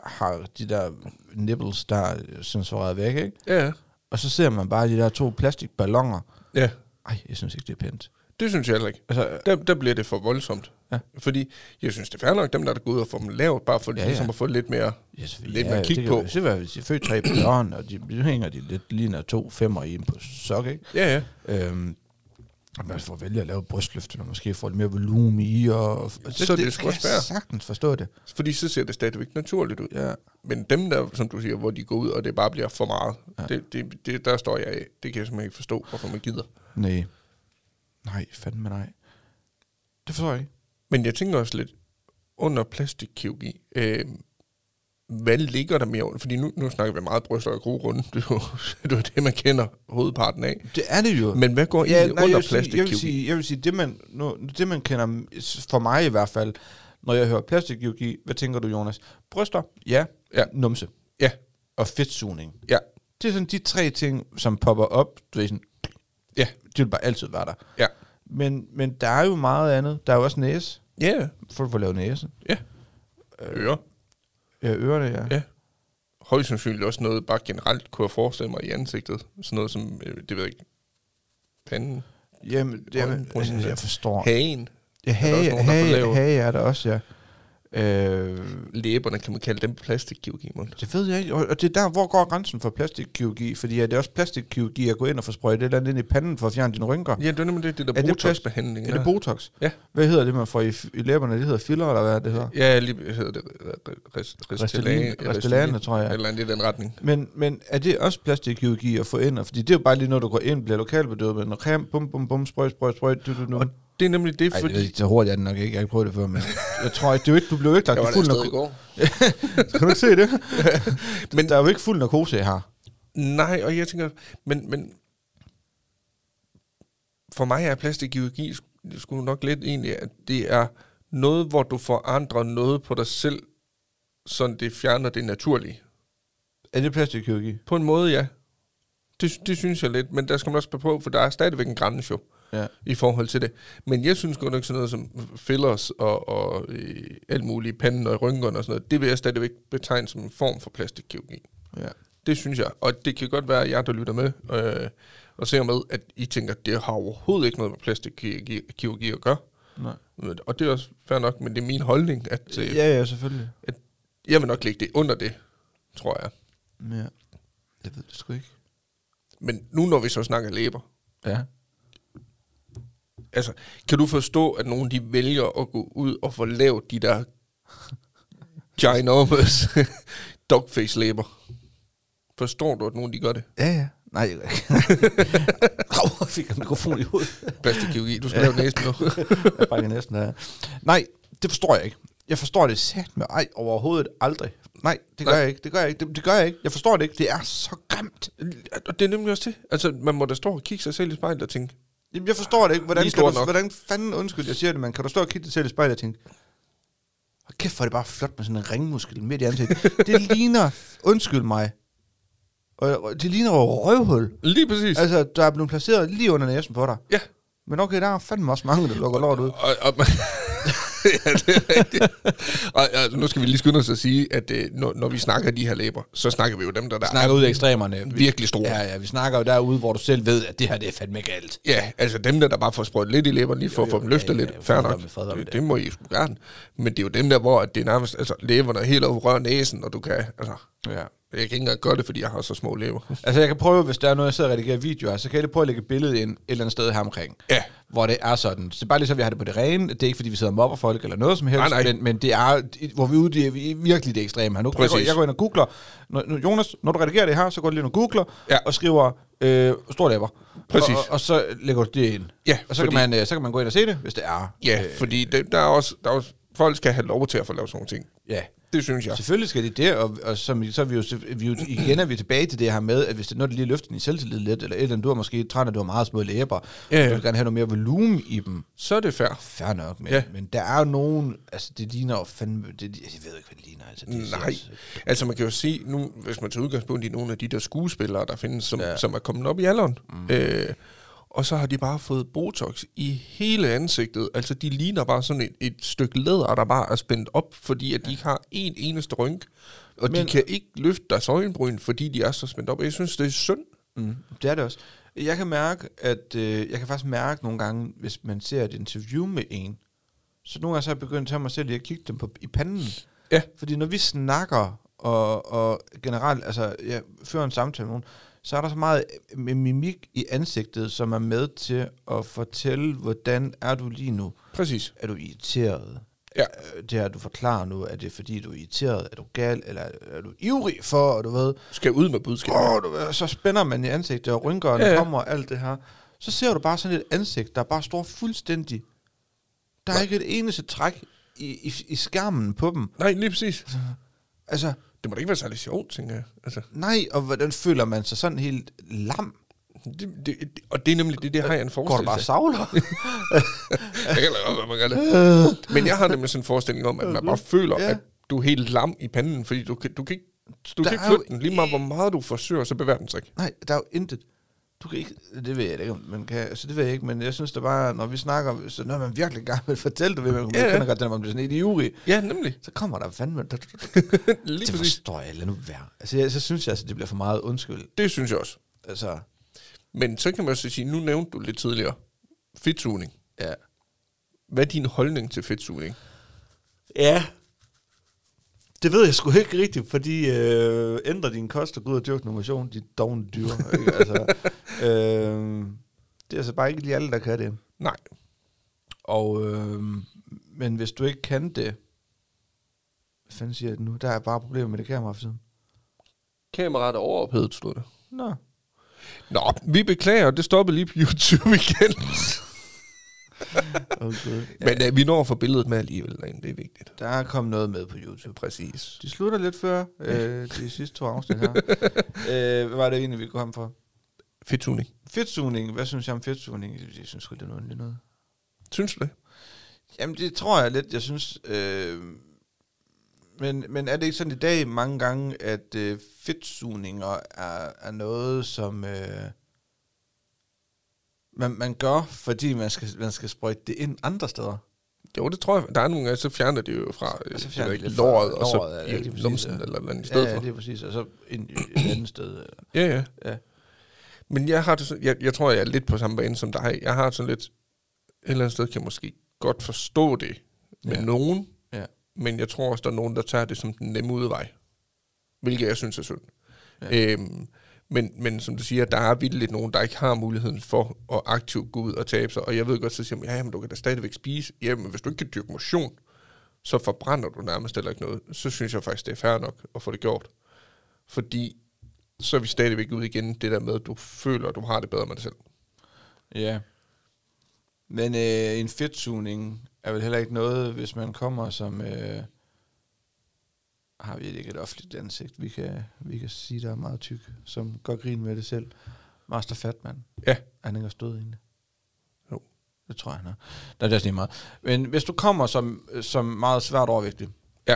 Speaker 1: har de der nipples, der er censureret væk, ikke?
Speaker 2: ja,
Speaker 1: Og så ser man bare de der to plastikballoner.
Speaker 2: ja.
Speaker 1: Ej, jeg synes ikke, det er pænt.
Speaker 2: Det synes jeg heller ikke.
Speaker 1: Altså, øh,
Speaker 2: der, der bliver det for voldsomt. Ja. Fordi jeg synes, det er fair nok, dem der er gået og får dem lavet, bare for ja,
Speaker 1: Ja,
Speaker 2: ja.
Speaker 1: ja.
Speaker 2: ligesom at få lidt mere,
Speaker 1: jeg,
Speaker 2: lidt mere kig
Speaker 1: det
Speaker 2: på.
Speaker 1: Kan, se, hvad hvis de er født tre børn, og de, de hænger de lidt ligner to femmer i en på sok, ikke?
Speaker 2: Ja, ja.
Speaker 1: Øhm, og man får vælge at lave brystløftet, og måske får lidt mere volumen i, og... og
Speaker 2: Så er det sgu
Speaker 1: kan
Speaker 2: også
Speaker 1: jeg
Speaker 2: fair.
Speaker 1: sagtens forstå det.
Speaker 2: Fordi så ser det stadigvæk naturligt ud.
Speaker 1: Ja.
Speaker 2: Men dem der, som du siger, hvor de går ud, og det bare bliver for meget, ja. det, det, det, der står jeg af. Det kan jeg simpelthen ikke forstå, hvorfor man gider.
Speaker 1: Nej. Nej, fandme nej. Det forstår jeg ikke.
Speaker 2: Men jeg tænker også lidt, under plastikkirurgi, øh, hvad ligger der mere under? Fordi nu, nu snakker vi meget bryster og grorunde. Det er jo det, er jo det man kender hovedparten af.
Speaker 1: Det er det jo.
Speaker 2: Men hvad går egentlig
Speaker 1: jeg,
Speaker 2: under
Speaker 1: vil sige, jeg, vil
Speaker 2: plastikkirurgi?
Speaker 1: sige, jeg vil sige, det man, nu, det man kender, for mig i hvert fald, når jeg hører plastikkirurgi, hvad tænker du, Jonas? Bryster, ja,
Speaker 2: Ja.
Speaker 1: numse
Speaker 2: Ja,
Speaker 1: og fedtsugning.
Speaker 2: ja,
Speaker 1: Det er sådan de tre ting, som popper op. Du ved sådan,
Speaker 2: ja,
Speaker 1: de vil bare altid være der.
Speaker 2: ja.
Speaker 1: Men, men der er jo meget andet. Der er jo også næse.
Speaker 2: Ja,
Speaker 1: Folk får lavet næse.
Speaker 2: ja. Øh, Ører.
Speaker 1: Ja, ørerne, ja.
Speaker 2: Ja. Højst sandsynligt også noget, bare generelt kunne jeg forestille mig i ansigtet. Sådan noget som, øh, det ved jeg ikke, panden,
Speaker 1: Jamen,
Speaker 2: Øjenbryn,
Speaker 1: jamen
Speaker 2: sådan
Speaker 1: jeg,
Speaker 2: der.
Speaker 1: jeg forstår.
Speaker 2: hagen.
Speaker 1: Ja,
Speaker 2: er
Speaker 1: hage,
Speaker 2: der også nogen, der får
Speaker 1: hage,
Speaker 2: lavet.
Speaker 1: hage er der også, ja. Øh,
Speaker 2: Læberne, kan man kalde dem plastikkirurgi, mon?
Speaker 1: det ved jeg ikke. Og og det er der, hvor går grænsen for plastikkirurgi? Fordi er det også plastikkirurgi at gå ind og få sprøjtet et eller andet ind i panden for at fjerne dine rynker?
Speaker 2: Ja, det er nemlig det, det der
Speaker 1: Er det
Speaker 2: botox-behandling.
Speaker 1: Er det botox?
Speaker 2: Ja.
Speaker 1: Hvad hedder det, man får i, f- i læberne? Det hedder filler, eller hvad det hedder?
Speaker 2: Ja, lige hedder det Restelane.
Speaker 1: Restelane, tror jeg.
Speaker 2: Eller andet i den retning.
Speaker 1: Men, men er det også plastikkirurgi at få ind? Og Fordi det er jo bare lige, når du går ind, bliver lokalbedøvet med en creme, bum, bum, bum, sprøjt, sprøjt, sprøjt, du, du, du.
Speaker 2: Og det er nemlig det,
Speaker 1: Ej,
Speaker 2: fordi...
Speaker 1: det ved, jeg- så hurtigt er den nok ikke. Jeg har ikke prøvet det før, men jeg tror ikke, det er jo ikke, du blev jo ikke lagt i fuld narkose.
Speaker 2: går.
Speaker 1: Kan du ikke se det? men
Speaker 2: Men-
Speaker 1: der er jo ikke fuld narkose her.
Speaker 2: Nej, og jeg tænker, men, men for mig er plastikkirurgi sk- sgu nok lidt egentlig, at det er noget, hvor du forandrer noget på dig selv, sådan det fjerner det naturlige.
Speaker 1: Er det plastikkirurgi?
Speaker 2: På en måde, ja. Det, det synes jeg lidt, men der skal man også passe på, for der er stadigvæk en grænse jo.
Speaker 1: Ja.
Speaker 2: i forhold til det. Men jeg synes godt nok sådan noget som fillers og, og øh, alt muligt i panden og i rynkerne og sådan noget, det vil jeg stadigvæk betegne som en form for plastikkirurgi.
Speaker 1: ja.
Speaker 2: Det synes jeg. Og det kan godt være, at jer, der lytter med øh, og ser med, at I tænker, at det har overhovedet ikke noget med plastikkirurgi at gøre.
Speaker 1: Nej.
Speaker 2: Og det er også fair nok, men det er min holdning, at øh,
Speaker 1: Ja, ja, selvfølgelig.
Speaker 2: jeg vil nok lægge det under det, tror jeg.
Speaker 1: Ja. Jeg ved det sgu ikke.
Speaker 2: Men nu når vi så snakker læber,
Speaker 1: Ja.
Speaker 2: Altså, kan du forstå, at nogen de vælger at gå ud og få lavet de der ginormous dogface-læber? Forstår du, at nogen de gør det?
Speaker 1: Ja, ja. Nej, jeg Au, fik jeg mikrofon i hovedet.
Speaker 2: Plastikkirurgi, du skal lave næsten nu.
Speaker 1: Jeg brækker næsten af. Nej, det forstår jeg ikke. Jeg forstår det sat med ej overhovedet aldrig. Nej, det gør
Speaker 2: Nej.
Speaker 1: jeg ikke. Det gør jeg ikke. Det, det gør jeg ikke. Jeg forstår det ikke. Det er så grimt.
Speaker 2: og det er nemlig også det. Altså, man må da stå og kigge sig selv i spejlet og tænke,
Speaker 1: Jamen, jeg forstår det ikke. Hvordan,
Speaker 2: Lige
Speaker 1: kan
Speaker 2: stor
Speaker 1: du,
Speaker 2: nok.
Speaker 1: hvordan fanden, undskyld, jeg siger det, man kan du stå og kigge dig selv i spejlet og tænke, og kæft, hvor er det bare flot med sådan en ringmuskel midt i ansigtet. det ligner, undskyld mig, og og det ligner jo røvhul.
Speaker 2: lige præcis. Altså,
Speaker 1: Altså, der er blevet placeret lige under næsen på dig.
Speaker 2: ja.
Speaker 1: Men okay, der er fandme også mange, der lukker lort ud.
Speaker 2: Og, og man ja, det er rigtigt. Og, og, nu skal vi lige skynde os at sige, at øh, når, når vi snakker de her læber, så snakker vi jo dem, der, der
Speaker 3: Snakker ud af ekstremerne.
Speaker 2: er virkelig store.
Speaker 3: Ja, ja, vi snakker jo derude, hvor du selv ved, at det her, det er fandme galt.
Speaker 2: Ja, altså dem der, der bare får sprøjt lidt i læberne, lige for at få dem løftet
Speaker 3: ja, ja,
Speaker 2: lidt,
Speaker 3: fred
Speaker 2: fair
Speaker 3: være
Speaker 2: nok.
Speaker 3: med- fred være med
Speaker 2: Det, det må I sgu gerne. Men det er jo dem der, hvor at det er nærmest, altså læberne er helt over rør næsen, og du kan, altså,
Speaker 1: Ja.
Speaker 2: jeg kan ikke engang gøre det, fordi jeg har så små læber.
Speaker 1: Altså, jeg kan prøve, hvis der er noget, jeg sidder og redigerer video af, så kan jeg lige prøve at lægge et billede ind et eller andet sted her omkring.
Speaker 2: Ja.
Speaker 1: Hvor det er sådan. Så det er bare lige så, vi har det på det rene. Det er ikke, fordi vi sidder og mobber folk eller noget som helst.
Speaker 2: Nej, nej.
Speaker 1: Men, men det er, hvor vi er ude i det er virkelig det ekstreme her. Nu, jeg, går,
Speaker 2: Præcis.
Speaker 1: jeg går ind og googler. Når, nu, Jonas, når du redigerer det her, så går du lige ind og googler
Speaker 2: Ja.
Speaker 1: og skriver øh, stor læber.
Speaker 2: Præcis.
Speaker 1: Og, og, og, så lægger du det ind.
Speaker 2: Ja,
Speaker 1: og så,
Speaker 2: fordi-
Speaker 1: kan man, øh, så kan man gå ind og se det, hvis det er.
Speaker 2: Ja,
Speaker 3: Øh,
Speaker 2: fordi det, der, er også, der er også, folk skal have lov til at få lavet sådan nogle ting.
Speaker 1: Ja.
Speaker 2: Det synes jeg.
Speaker 1: Selvfølgelig skal det det, og, og som, I- så er vi jo, vi jo igen er vi tilbage til det her med, at hvis det er noget, der lige løfter din selvtillid lidt, eller et eller andet, du har måske træt, at du har meget små læber,
Speaker 2: Ja, ja.
Speaker 1: og du vil gerne have noget mere volumen i dem,
Speaker 2: Så er det fair.
Speaker 1: fair nok, men, ja.
Speaker 2: Ja.
Speaker 1: men der er jo nogen, altså det ligner jo fandme, det, jeg ved ikke, hvad det ligner. Altså, det er
Speaker 2: Nej,
Speaker 1: sindssygt.
Speaker 2: altså man kan jo se nu, hvis man tager udgangspunkt i nogle af de der skuespillere, der findes, som, ja. som er kommet op i alderen. Mm. Øh, og så har de bare fået Botox i hele ansigtet. Altså de ligner bare sådan et, et stykke læder, der bare er spændt op, fordi at de ikke har en eneste rynk. Og Men,
Speaker 1: Men-
Speaker 2: de kan ikke løfte deres øjenbryn, fordi de er så spændt op. Jeg synes, det er synd.
Speaker 1: Mm, det er det også. Jeg kan mærke, at øh, jeg kan faktisk mærke nogle gange, hvis man ser et interview med en, så nogle gange så er jeg begyndt at mig selv lige at kigge dem på, i panden.
Speaker 2: Ja.
Speaker 1: Fordi når vi snakker, og, og generelt, altså jeg fører en samtale med nogen, så er der så meget øh, mimik i ansigtet, som er med til at fortælle, hvordan er du lige nu?
Speaker 2: Præcis.
Speaker 1: Er du irriteret?
Speaker 2: Ja.
Speaker 1: Øh, Det her, du forklarer nu, er det fordi, du er irriteret? Er du gal? Eller er- er du ivrig for, og du ved?
Speaker 2: Skal ud med budskabet.
Speaker 1: Åh, du ved, så spænder man i ansigtet, og rynkerne
Speaker 2: Ja,
Speaker 1: ja,
Speaker 2: ja.
Speaker 1: kommer og alt det her. Så ser du bare sådan et ansigt, der bare står fuldstændig. Der er ikke et eneste træk i, i, i skærmen på dem.
Speaker 2: Nej, lige præcis.
Speaker 1: Altså,
Speaker 2: Det må da ikke være særlig sjovt, tænker jeg. Altså,
Speaker 1: nej, og hvordan føler man sig sådan helt lam?
Speaker 2: det, det, det, og det er nemlig det, det har jeg en
Speaker 1: Går du
Speaker 2: forestillelse
Speaker 1: bare og savler?
Speaker 2: Jeg kan lade op, man gør det. Men jeg har nemlig sådan en forestilling om, at man bare føler,
Speaker 1: Øh. Ja.
Speaker 2: at du er helt lam i panden, fordi du kan, du kan ikke, du
Speaker 1: Der
Speaker 2: kan ikke
Speaker 1: er jo
Speaker 2: flytte den. Lige meget, hvor meget du forsøger, så bevæger den sig ikke.
Speaker 1: nej, der er jo intet. Du kan ikke, det ved jeg da ikke, om man kan, altså det ved jeg ikke, men jeg synes det bare, når vi snakker, så når man virkelig gerne vil fortælle, du ved, man, man
Speaker 2: Ja, ja.
Speaker 1: kender godt den, om man bliver sådan helt ivrig,
Speaker 2: Ja, nemlig.
Speaker 1: så kommer der fandme,
Speaker 2: Lige
Speaker 1: det
Speaker 2: præcis.
Speaker 1: forstår jeg, lad nu være. Altså, jeg, så synes jeg, altså, det bliver for meget undskyld.
Speaker 2: Det synes jeg også.
Speaker 1: Altså,
Speaker 2: Men så kan man også sige, nu nævnte du lidt tidligere, fedtsugning.
Speaker 1: ja.
Speaker 2: Hvad er din holdning til fedtsugning?
Speaker 3: Ja.
Speaker 1: Det ved jeg sgu ikke rigtigt, fordi øh, ændre din kost og gå ud og dyrke noget motion, de dogne dyr. ikke? altså, øh, det er altså bare ikke lige alle, der kan det.
Speaker 2: Nej.
Speaker 1: Og, øh, men hvis du ikke kan det, hvad fanden siger jeg det nu? Der er bare problemer med det kamera for tiden.
Speaker 3: Kameraet er overophedet, stod der.
Speaker 1: Nå.
Speaker 2: Nå, vi beklager, det stoppede lige på YouTube igen.
Speaker 1: Okay.
Speaker 2: Ja. Men øh, vi når for billedet med alligevel, derinde, det er vigtigt.
Speaker 1: Der er kommet noget med på YouTube.
Speaker 2: Præcis.
Speaker 1: De slutter lidt før øh, de sidste to afsnit her. øh, hvad var det egentlig, vi kom fra?
Speaker 2: Fedtuning.
Speaker 1: Fedtsugning. Hvad synes jeg om fedtsugning? Jeg synes sgu, det er noget underligt noget.
Speaker 2: Synes du det?
Speaker 1: Jamen, det tror jeg lidt, jeg synes. Øh, men, men er det ikke sådan i dag mange gange, at øh, fedtsugninger er, er noget, som øh, man, man gør, fordi man skal, man skal sprøjte det ind andre steder?
Speaker 2: Jo, det tror jeg. Der er nogle gange, så fjerner de jo fra øh,
Speaker 1: Og så
Speaker 2: det
Speaker 1: fjerner
Speaker 2: ved
Speaker 1: de
Speaker 2: jeg ikke,
Speaker 1: lidt fra
Speaker 2: låret, og
Speaker 1: låret, ja,
Speaker 2: så
Speaker 1: lige
Speaker 2: i
Speaker 1: præcis,
Speaker 2: lumsen
Speaker 1: ja.
Speaker 2: eller et eller andet i stedet
Speaker 1: ja,
Speaker 2: for.
Speaker 1: det er præcis. Og så ind et andet sted. øh.
Speaker 2: Ja, ja.
Speaker 1: Ja.
Speaker 2: Men jeg har det sådan, jeg, jeg tror, jeg er lidt på samme bane som dig. Jeg har sådan lidt, et eller andet sted kan jeg måske godt forstå det med
Speaker 1: Ja.
Speaker 2: ja. nogen,
Speaker 1: Ja.
Speaker 2: men jeg tror også, der er nogen, der tager det som den nemme udvej, hvilket jeg synes er synd.
Speaker 1: Ja.
Speaker 2: Ja. Øhm, men, men som du siger, der er vildt lidt nogen, der ikke har muligheden for at aktivt gå ud og tabe sig. Og jeg ved godt, så siger man, ja, men du kan da stadigvæk spise. Jamen, hvis du ikke kan dyrke motion, så forbrænder du nærmest heller ikke noget. Så synes jeg faktisk, det er fair nok at få det gjort. Fordi så er vi stadigvæk ude igen det der med, at du føler, at du har det bedre med dig selv.
Speaker 1: Ja. Men øh, en fedtsugning er vel heller ikke noget, hvis man kommer som... Øh, har vi ikke et offentligt ansigt, vi kan, vi kan sige, der er meget tyk, som går grin med det selv. Master Fatman.
Speaker 2: Ja.
Speaker 1: Er han ikke også død egentlig?
Speaker 2: Jo.
Speaker 1: Det tror jeg, han er. Nå, det er også lige meget. Men hvis du kommer som, som meget svært overvægtig,
Speaker 2: Ja.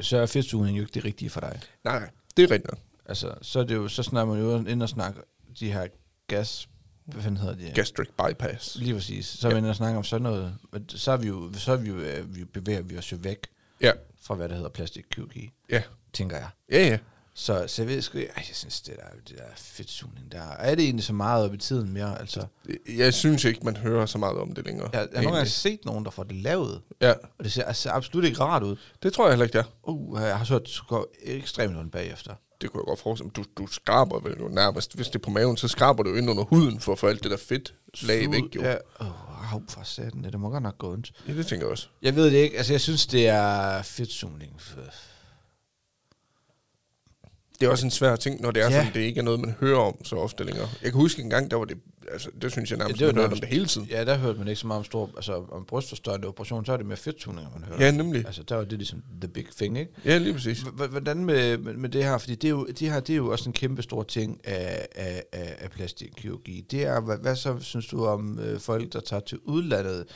Speaker 1: så er fedtsugning jo ikke det rigtige for dig.
Speaker 2: Nej, nej, det er rigtigt nok.
Speaker 1: Altså, så er det jo, så snakker man jo ind og snakker de her gas... Hvad fanden hedder de?
Speaker 2: Gastric bypass.
Speaker 1: Lige præcis. Så er vi inde og snakke om sådan noget. Men Så, er vi jo, så er vi jo, øh, vi bevæger vi os jo væk
Speaker 2: Ja,
Speaker 1: fra, hvad der hedder plastikkirurgi,
Speaker 2: ja,
Speaker 1: tænker jeg.
Speaker 2: ja, ja.
Speaker 1: Så, så jeg ved sgu, ej, jeg synes, det der, det der fedtsugning der, er det egentlig så meget op i tiden mere? Altså,
Speaker 2: Jeg synes ikke, man hører så meget om det længere.
Speaker 1: jeg, jeg har nogle gange set nogen, der får det lavet,
Speaker 2: ja.
Speaker 1: og det ser altså, absolut ikke rart ud.
Speaker 2: det tror jeg heller ikke, det er.
Speaker 1: Uh, jeg har så det går ekstremt ondt bagefter.
Speaker 2: Det kunne jeg godt forestille mig. Du, du skraber vel jo nærmest. Hvis det er på maven, så skraber du jo ind under huden for at få alt det der fedt lag væk. Jo.
Speaker 1: Ja, oh, au, for satan, det må godt nok gå ondt.
Speaker 2: ja, det tænker jeg også.
Speaker 1: Jeg ved det ikke, altså jeg synes, det er fedtsugning.
Speaker 2: Det er også en svær ting, når det er
Speaker 1: Ja.
Speaker 2: ja. sådan, det ikke er noget, man hører om så ofte længere. Jeg kan huske en gang, der var det, altså, det synes jeg nærmest,
Speaker 1: det
Speaker 2: ja,
Speaker 1: var
Speaker 2: man hørte om
Speaker 1: nærmest-
Speaker 2: det hele tiden.
Speaker 1: Ja, der hørte man ikke så meget om, stor, altså, om brystforstørrende operation, så er det mere fedttoninger, man hører.
Speaker 2: Ja, nemlig.
Speaker 1: Altså, der var det ligesom the big thing, ikke?
Speaker 2: Ja, lige præcis.
Speaker 1: H- h- Hvordan med, med med det her? Fordi det, er jo, det her, det er jo også en kæmpe stor ting af, af, af, af plastikkirurgi. Det er, hvad, hvad så synes du om øh, folk, der tager til udlandet?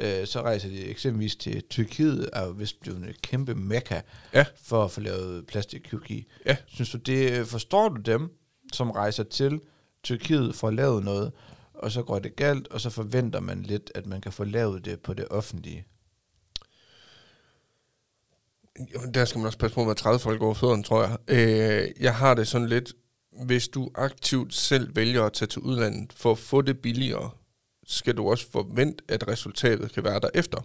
Speaker 1: Øh, så rejser de eksempelvis til Tyrkiet, er jo vist blevet en kæmpe mekka
Speaker 2: Ja.
Speaker 1: for at få lavet plastikkirurgi.
Speaker 2: Ja.
Speaker 1: Synes du, det, øh, forstår du dem, som rejser til Tyrkiet for at lave noget, og så går det galt, og så forventer man lidt, at man kan få lavet det på det offentlige?
Speaker 2: Jo, Der skal man også passe på med at træde folk over fødderne, tror jeg. Øh, jeg har det sådan lidt, hvis du aktivt selv vælger at tage til udlandet for at få det billigere, skal du også forvente, at resultatet kan være derefter.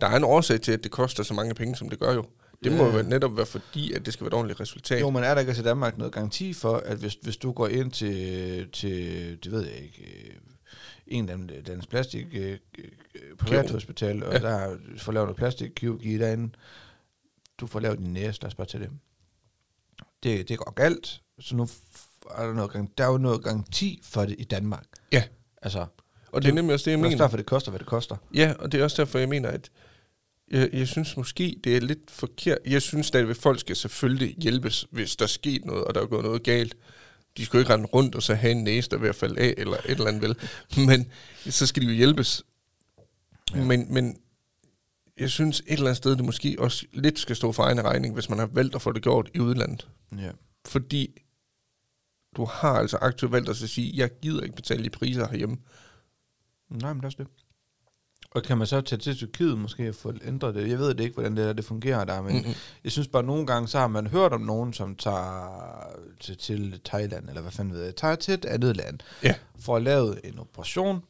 Speaker 2: Der er en årsag til, at det koster så mange penge, som det gør jo. Det må
Speaker 1: Ja.
Speaker 2: jo være- netop være fordi, at det skal være et ordentligt resultat.
Speaker 1: Jo,
Speaker 2: Jo.
Speaker 1: men er der ikke også i Danmark noget garanti for, at hvis, hvis du går ind til, til det ved jeg ikke, øh, en eller anden dansk plastik øh, øh, privathospital, og ja.
Speaker 2: Ja.
Speaker 1: der får lavet noget plastikkirurgi derinde, du får lavet din næse, lad os bare tage det. Det, det går galt, så nu f- er der, noget, gar- der er jo noget garanti for det i Danmark.
Speaker 2: Ja,
Speaker 1: Altså,
Speaker 2: og det er nemlig også det, jeg
Speaker 1: det er også
Speaker 2: mener.
Speaker 1: derfor, det koster, hvad det koster.
Speaker 2: Ja, og det er også derfor, jeg mener, at jeg, jeg synes måske, det er lidt forkert. Jeg synes stadigvæk, at folk skal selvfølgelig hjælpes, hvis der er sket noget, og der er gået noget galt. De skal jo ikke rende rundt og så have en næse, der er ved at falde af, eller et eller andet vel. Men så skal de jo hjælpes.
Speaker 1: Ja.
Speaker 2: Ja. Men, men jeg synes et eller andet sted, det måske også lidt skal stå for egen regning, hvis man har valgt at få det gjort i udlandet.
Speaker 1: Ja.
Speaker 2: Fordi du har altså aktivt valgt at så sige, jeg gider ikke betale de priser herhjemme.
Speaker 1: Nej, men det er også det. Og kan man så tage til Tyrkiet måske og få ændret det? Jeg ved det ikke, hvordan det, der, det fungerer der, men mm-hmm. jeg synes bare, at nogle gange så har man hørt om nogen, som tager til, til Thailand, eller hvad fanden ved jeg, tager til et andet land,
Speaker 2: Ja.
Speaker 1: for at lave en operation,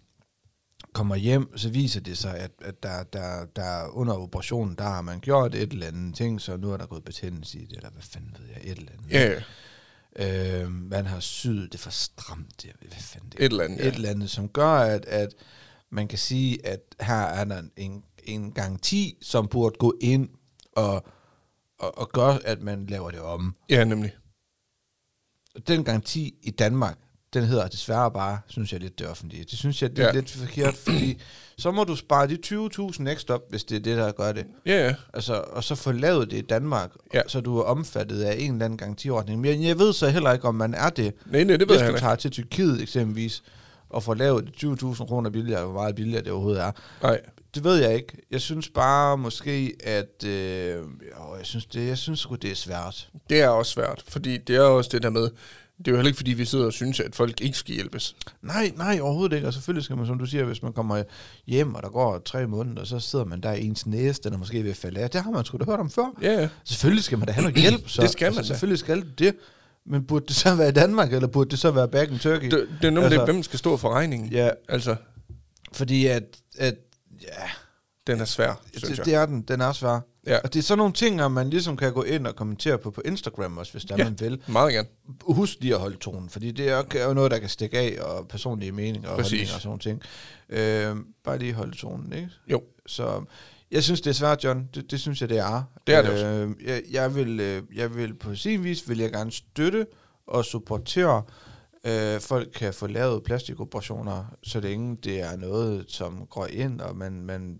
Speaker 1: kommer hjem, så viser det sig, at, at der, der, der under operationen, der har man gjort et eller andet ting, så nu er der gået betændelse i det, eller hvad fanden ved jeg, et eller andet.
Speaker 2: Ja, ja.
Speaker 1: Øh, man har syet det for stramt, jeg ved, hvad fanden det er.
Speaker 2: Et eller andet, ja.
Speaker 1: Et eller andet, som gør, at, at man kan sige, at her er der en, en garanti, som burde gå ind og, og, og gøre, at man laver det om.
Speaker 2: ja nemlig.
Speaker 1: Og Den garanti i Danmark, den hedder desværre bare, synes jeg, lidt det offentlige. Det synes jeg, det er ja.
Speaker 2: Ja.
Speaker 1: lidt forkert, fordi så må du spare de 20.000 ekstra op, hvis det er det, der gør det.
Speaker 2: Ja, ja.
Speaker 1: Altså, og så få lavet det i Danmark, ja.
Speaker 2: Ja.
Speaker 1: så du er omfattet af en eller anden garantiordning. Men jeg ved så heller ikke, om man er det.
Speaker 2: Nej, nej, det ved
Speaker 1: Hvis
Speaker 2: jeg
Speaker 1: du
Speaker 2: ikke.
Speaker 1: tager til Tyrkiet eksempelvis, og får lavet 20.000 kroner billigere, hvor meget billigere det overhovedet er.
Speaker 2: Nej.
Speaker 1: Det ved jeg ikke. Jeg synes bare måske, at... Øh, jo, jeg synes, det, jeg synes sgu, det er svært.
Speaker 2: Det er også svært, fordi det er også det der med, det er jo heller ikke, fordi vi sidder og synes, at folk ikke skal hjælpes.
Speaker 1: Nej, nej, overhovedet ikke. Og selvfølgelig skal man, som du siger, hvis man kommer hjem, og der går tre måneder, så sidder man der i ens næse, den er måske ved at falde af. Det har man sgu da hørt om før.
Speaker 2: Ja, ja.
Speaker 1: Selvfølgelig skal man da have noget hjælp. Så, Altså,
Speaker 2: Det skal man da.
Speaker 1: Selvfølgelig skal det. Men burde det så være i Danmark, eller burde det så være back in Turkey?
Speaker 2: Det, det er nemlig
Speaker 1: Altså-
Speaker 2: altså, hvem skal stå for regningen.
Speaker 1: Ja,
Speaker 2: Altså,
Speaker 1: fordi at, at ja,
Speaker 2: den er svær, synes
Speaker 1: det,
Speaker 2: jeg.
Speaker 1: det, er den. Den er svær.
Speaker 2: Ja.
Speaker 1: Og det er sådan nogle ting, at man ligesom kan gå ind og kommentere på på Instagram også, hvis der ja. man vil.
Speaker 2: Meget gerne.
Speaker 1: Husk lige at holde tonen, fordi det er jo- er jo noget, der kan stikke af, og personlige meninger og
Speaker 2: Præcis.
Speaker 1: holdninger og sådan nogle ting. Øh, bare lige holde tonen, ikke?
Speaker 2: Jo.
Speaker 1: Så jeg synes, det er svært, John. Det, det synes jeg, det er.
Speaker 2: Det er det også.
Speaker 1: Øh, jeg, jeg, vil, øh, jeg vil på sin vis, vil jeg gerne støtte og supportere, øh, folk kan få lavet plastikoperationer, så længe det er noget, som går ind, og man, man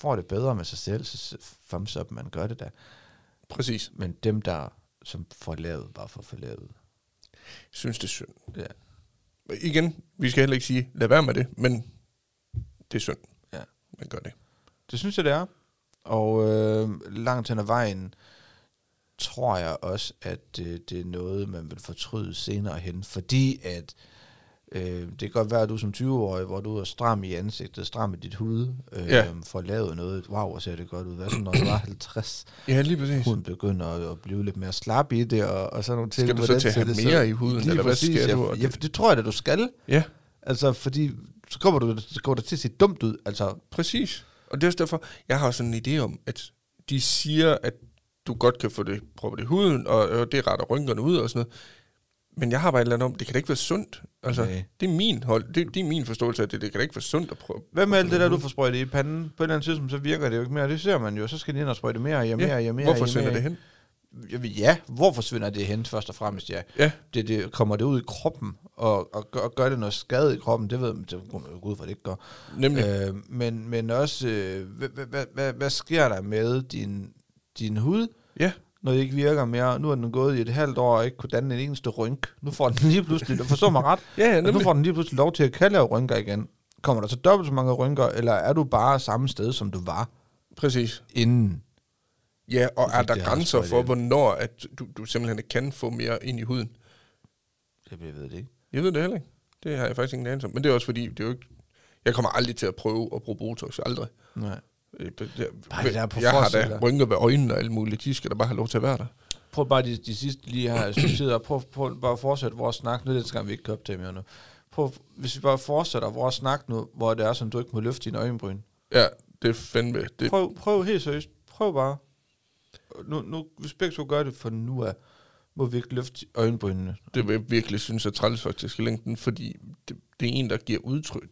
Speaker 1: får det bedre med sig selv, så thumbs up, man gør det da.
Speaker 2: Præcis.
Speaker 1: Men dem, der som får lavet, bare for at få lavet.
Speaker 2: Jeg synes, det er synd.
Speaker 1: Ja.
Speaker 2: Igen, vi skal heller ikke sige, lad være med det, men det er synd.
Speaker 1: Ja.
Speaker 2: Man gør det.
Speaker 1: Det synes jeg, det er. Og øh, langt hen ad vejen tror jeg også, at øh, det er noget, man vil fortryde senere hen, fordi at øh, det kan godt være, at du som 20-årig, hvor du er stram i ansigtet, stram i dit hud, øh,
Speaker 2: Ja.
Speaker 1: får lavet noget, wow, hvor ser det godt ud. Hvad så, når du var 50?
Speaker 2: Ja, lige præcis.
Speaker 1: Huden begynder at, at blive lidt mere slap i det, og, og sådan nogle ting.
Speaker 2: Skal du så
Speaker 1: Hvordan
Speaker 2: til at
Speaker 1: ser
Speaker 2: have
Speaker 1: det
Speaker 2: mere i huden,
Speaker 1: Lige
Speaker 2: eller hvad
Speaker 1: præcis.
Speaker 2: skal
Speaker 1: ja,
Speaker 2: du?
Speaker 1: for-
Speaker 2: Og
Speaker 1: Ja, for det tror jeg da, du skal.
Speaker 2: Ja,
Speaker 1: Altså, fordi så kommer du, så kommer det til at se dumt ud. Altså,
Speaker 2: præcis. Og det er også derfor, jeg har sådan en idé om, at de siger, at du godt kan få det proppet i huden, og, og det retter rynkerne ud og sådan noget. Men jeg har bare et eller andet om, det kan da ikke være sundt. Altså,
Speaker 1: Nej.
Speaker 2: det er min hold, det, det er min forståelse af det, det kan da ikke være sundt at prøve.
Speaker 1: Hvad med alt det der, du får sprøjtet i panden? På et eller andet tidspunkt, så virker det jo ikke mere. Det ser man jo. Så skal de ind og sprøjte mere, ja, mere, ja, mere.
Speaker 2: Hvorfor sender det hen?
Speaker 1: hen? Ja, hvor forsvinder det hen, først og fremmest, ja.
Speaker 2: Ja,
Speaker 1: Det, det, kommer det ud i kroppen, og, og, gør, og gør det noget skade i kroppen, det ved man, det går man jo ud fra, det ikke gør.
Speaker 2: nemlig. Øh,
Speaker 1: Øh, men, men også, øh, hvad, hvad, hvad, hvad, hvad sker der med din, din hud,
Speaker 2: ja,
Speaker 1: når det ikke virker mere? Nu er den gået i et halvt år og ikke kunne danne en eneste rynk. Nu får den lige pludselig, du forstår mig ret,
Speaker 2: ja, ja
Speaker 1: og nu
Speaker 2: nemlig.
Speaker 1: får den lige pludselig lov til at kan lave rynker igen. Kommer der så dobbelt så mange rynker, eller er du bare samme sted, som du var
Speaker 2: Præcis.
Speaker 1: inden?
Speaker 2: Ja, og er
Speaker 1: Fordi det
Speaker 2: der
Speaker 1: har
Speaker 2: grænser
Speaker 1: også
Speaker 2: for,
Speaker 1: været det.
Speaker 2: hvornår at du, du simpelthen ikke kan få mere ind i huden?
Speaker 1: Jeg ved det ikke.
Speaker 2: Jeg ved det heller ikke. Det har jeg faktisk ingen anelse om. Men det er også fordi, det er jo ikke... Jeg kommer aldrig til at prøve at bruge Botox. Aldrig.
Speaker 1: Nej.
Speaker 2: Øh, det- Jeg,
Speaker 1: Bare det der på
Speaker 2: jeg har
Speaker 1: forsiden
Speaker 2: da
Speaker 1: der.
Speaker 2: rynker ved øjnene og alt muligt. De skal da bare have lov til at være der.
Speaker 1: Prøv bare de, de sidste lige her, som sidder og prøv, prøv bare at fortsætte vores snak. Nu er det gang, vi ikke kan optage mere nu. Prøv, hvis vi bare fortsætter vores snak nu, hvor det er, som du ikke må løfte dine øjenbryn.
Speaker 2: Ja, det er fandme... Det,
Speaker 1: Prøv, prøv helt seriøst. Prøv bare. Nu, nu, hvis begge to gør det for nu af, må vi ikke løfte øjenbrynene.
Speaker 2: det vil jeg virkelig synes er træls faktisk i længden, fordi det, det er en, der giver udtryk.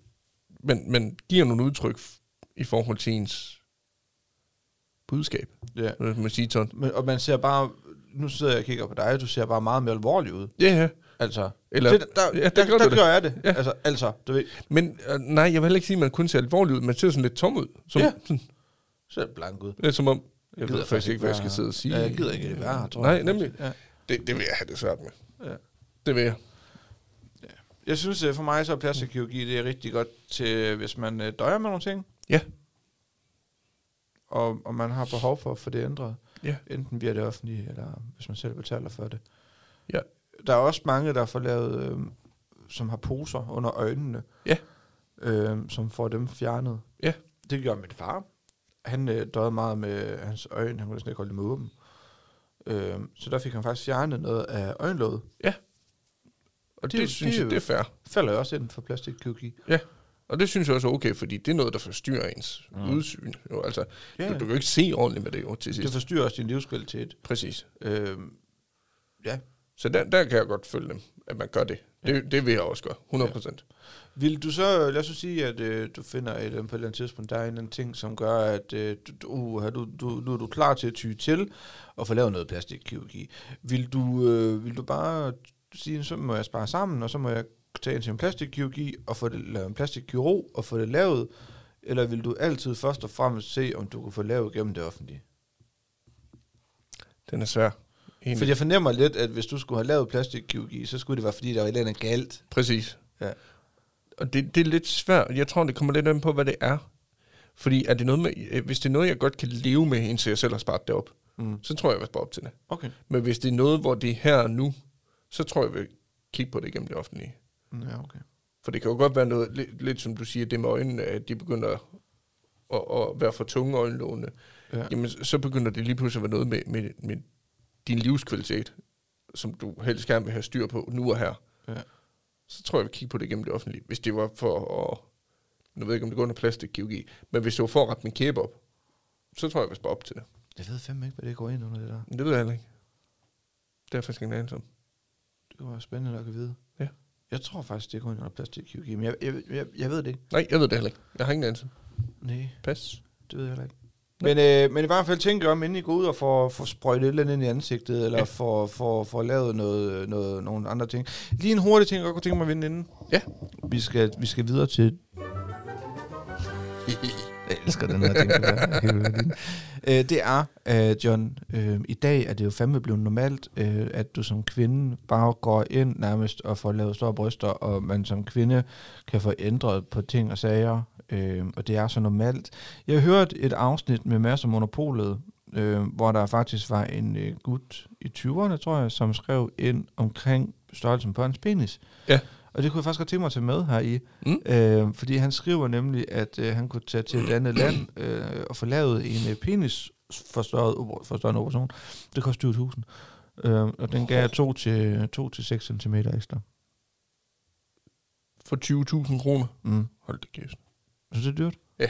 Speaker 2: Men, men giver nogle udtryk f- i forhold til ens budskab,
Speaker 1: Ja.
Speaker 2: hvis man siger sådan.
Speaker 1: Men, og man ser bare, nu sidder jeg og kigger på dig, du ser bare meget mere alvorlig ud.
Speaker 2: Ja, ja.
Speaker 1: Altså,
Speaker 2: Eller-
Speaker 1: det, der,
Speaker 2: Ja,
Speaker 1: der,
Speaker 2: der
Speaker 1: der,
Speaker 2: gør
Speaker 1: der,
Speaker 2: du det.
Speaker 1: gør jeg det. Ja.
Speaker 2: Ja.
Speaker 1: Altså, altså, du ved,
Speaker 2: Men øh, nej, jeg vil heller ikke sige, at man kun ser alvorlig ud. Man ser sådan lidt tom ud. Som,
Speaker 1: Ja.
Speaker 2: ja. sådan,
Speaker 1: så er det blank ud.
Speaker 2: lidt som om, jeg,
Speaker 1: gider
Speaker 2: ved faktisk ikke, hvad jeg skal
Speaker 1: være-
Speaker 2: sidde og sige.
Speaker 1: Ja, jeg gider ikke det være her, tror
Speaker 2: Nej,
Speaker 1: jeg.
Speaker 2: nemlig.
Speaker 1: Ja.
Speaker 2: Det, det vil jeg have det svært med.
Speaker 1: Ja.
Speaker 2: Det vil jeg.
Speaker 1: Jeg synes øh, for mig, så er plastikkirurgi, det er rigtig godt til, hvis man øh, døjer med nogle ting,
Speaker 2: Ja.
Speaker 1: og, og man har behov for at få det ændret.
Speaker 2: Ja.
Speaker 1: Enten via det offentlige, eller hvis man selv betaler for det.
Speaker 2: Ja.
Speaker 1: Der er også mange, der får lavet, øh, som har poser under øjnene,
Speaker 2: Ja.
Speaker 1: øh, som får dem fjernet.
Speaker 2: Ja.
Speaker 1: Det gjorde min far. Han øh, døde meget med hans øjne, han kunne næsten ikke holde dem åben. Øh, så der fik han faktisk fjernet noget af øjenlåget.
Speaker 2: Og
Speaker 1: Det er
Speaker 2: det,
Speaker 1: jo-
Speaker 2: det synes
Speaker 1: det er
Speaker 2: det, jeg,
Speaker 1: jo-
Speaker 2: det er fair.
Speaker 1: Falder jo også inden for plastikkirurgi.
Speaker 2: Ja. Og det synes jeg også er okay, fordi det er noget, der forstyrrer ens mm. udsyn. Jo, altså,
Speaker 1: Ja,
Speaker 2: yeah.
Speaker 1: ja.
Speaker 2: du, du kan jo ikke se ordentligt med det jo til sidst.
Speaker 1: Det forstyrrer også din livskvalitet.
Speaker 2: Præcis.
Speaker 1: Øh, ja.
Speaker 2: Så der, der kan jeg godt følge dem, at man gør det. Det, det vil jeg også gøre, 100 procent.
Speaker 1: Vil du så, lad os så sige, at øh, du finder et, øh, på et eller andet tidspunkt, der er en eller anden ting, som gør, at øh, du, du, uha, du, du, nu er du klar til at ty til og få lavet noget plastikkirurgi. Vil du, øh, vil du bare sige, så må jeg spare sammen, og så må jeg tage ind til en plastikkirurgi og få det lavet en plastikkirurg og få det lavet, eller vil du altid først og fremmest se, om du kan få lavet gennem det offentlige?
Speaker 2: Den er svær. Egentlig.
Speaker 1: Fordi jeg fornemmer lidt, at hvis du skulle have lavet plastikkirurgi, så skulle det være, fordi der var et eller andet galt.
Speaker 2: Præcis.
Speaker 1: Ja.
Speaker 2: Og det, det er lidt svært. Jeg tror, det kommer lidt an på, hvad det er. Fordi er det noget med, øh, hvis det er noget, jeg godt kan leve med, indtil jeg selv har sparet det op,
Speaker 1: Mm.
Speaker 2: så tror jeg, jeg vil spare op til det.
Speaker 1: Okay.
Speaker 2: Men hvis det er noget, hvor det er her og nu, så tror jeg, jeg vil kigge på det igennem det offentlige.
Speaker 1: Mm, Ja, okay.
Speaker 2: For det kan jo godt være noget, lidt, lidt som du siger, det med øjnene, at de begynder at, at, at være for tunge øjenlågene.
Speaker 1: Ja.
Speaker 2: Ja. Jamen, så så begynder det lige pludselig at være noget med, med, med din livskvalitet, som du helst gerne vil have styr på nu og her.
Speaker 1: Ja.
Speaker 2: Så tror jeg, jeg vil kigge på det gennem det offentlige. Hvis det var for at... Nu ved jeg ikke, om det går under plastikkirurgi, men hvis det var for at rette min kæbe op, så tror jeg, jeg vil spare op til det.
Speaker 1: Jeg ved fandme ikke, hvad det går ind under det der.
Speaker 2: Men det ved jeg heller ikke. Det er jeg faktisk ikke en anelse om.
Speaker 1: Det var spændende nok at vide.
Speaker 2: Ja.
Speaker 1: Jeg tror faktisk, det går ind under plastikkirurgi, men jeg, jeg, jeg, jeg ved det ikke.
Speaker 2: Nej, jeg ved det heller ikke. Jeg har ingen anelse.
Speaker 1: Nej,
Speaker 2: Pas.
Speaker 1: det ved jeg heller ikke. Men, øh, men i hvert fald tænk jer om, inden I går ud og får, får sprøjtet et eller andet ind i ansigtet, eller ja.
Speaker 2: Ja.
Speaker 1: får, får, får lavet noget, noget, nogle andre ting. Lige en hurtig ting, jeg godt kunne tænke mig at vinde inden.
Speaker 2: Ja.
Speaker 1: Vi skal, vi skal videre til... Jeg elsker den her ting. det der. Helt vildt fint. Øh, det er, øh, John, øh, i dag er det jo fandme blevet normalt, øh, at du som kvinde bare går ind nærmest og får lavet store bryster, og man som kvinde kan få ændret på ting og sager, øh, og det er så normalt. Jeg hørte et afsnit med masser af monopolet, øh, hvor der faktisk var en øh, gut i 20'erne, tror jeg, som skrev ind omkring størrelsen på hans penis.
Speaker 2: Ja.
Speaker 1: Og det kunne jeg faktisk godt tænke mig at tage med her i,
Speaker 2: Mm.
Speaker 1: øh, fordi han skriver nemlig, at øh, han kunne tage til et andet land øh, og få lavet en øh, penis forstørret, oper- forstørrende operation. Det koster 20.000. Øh, og den gav jeg 2 til, 2 til 6 cm ekstra.
Speaker 2: For 20.000 kroner.
Speaker 1: Mm.
Speaker 2: Hold da kæft.
Speaker 1: Synes du, det er dyrt?
Speaker 2: Ja.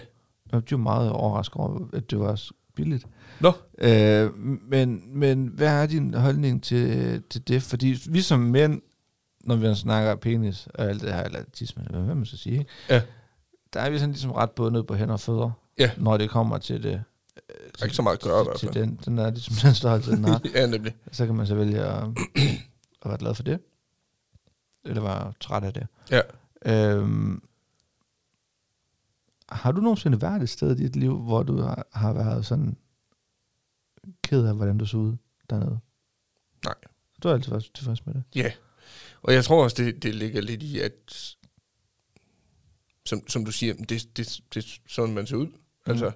Speaker 1: Jeg blev meget overrasket over, at det var så billigt.
Speaker 2: Nå.
Speaker 1: Øh, men, men hvad er din holdning til, til det? Fordi vi som mænd, når vi snakker penis og alt det her, eller tisme, eller hvad man skal sige, ikke?
Speaker 2: Ja.
Speaker 1: der er vi sådan ligesom ret bundet på hænder og fødder,
Speaker 2: Ja.
Speaker 1: når det kommer til det. øh,
Speaker 2: Der er ikke så meget at gøre i hvert
Speaker 1: til,
Speaker 2: fald.
Speaker 1: til den, den er ligesom den størrelse, den har.
Speaker 2: ja, nemlig.
Speaker 1: Så kan man så vælge at, at være glad for det. Eller være træt af det.
Speaker 2: Ja.
Speaker 1: Øhm, har du nogensinde været et sted i dit liv, hvor du har, har været sådan ked af, hvordan du så ud dernede?
Speaker 2: Nej.
Speaker 1: Du har altid været tilfreds med det.
Speaker 2: Ja. Og jeg tror også, det, det ligger lidt i, at som, som du siger, det, det, det er sådan, man ser ud. Mm. Altså,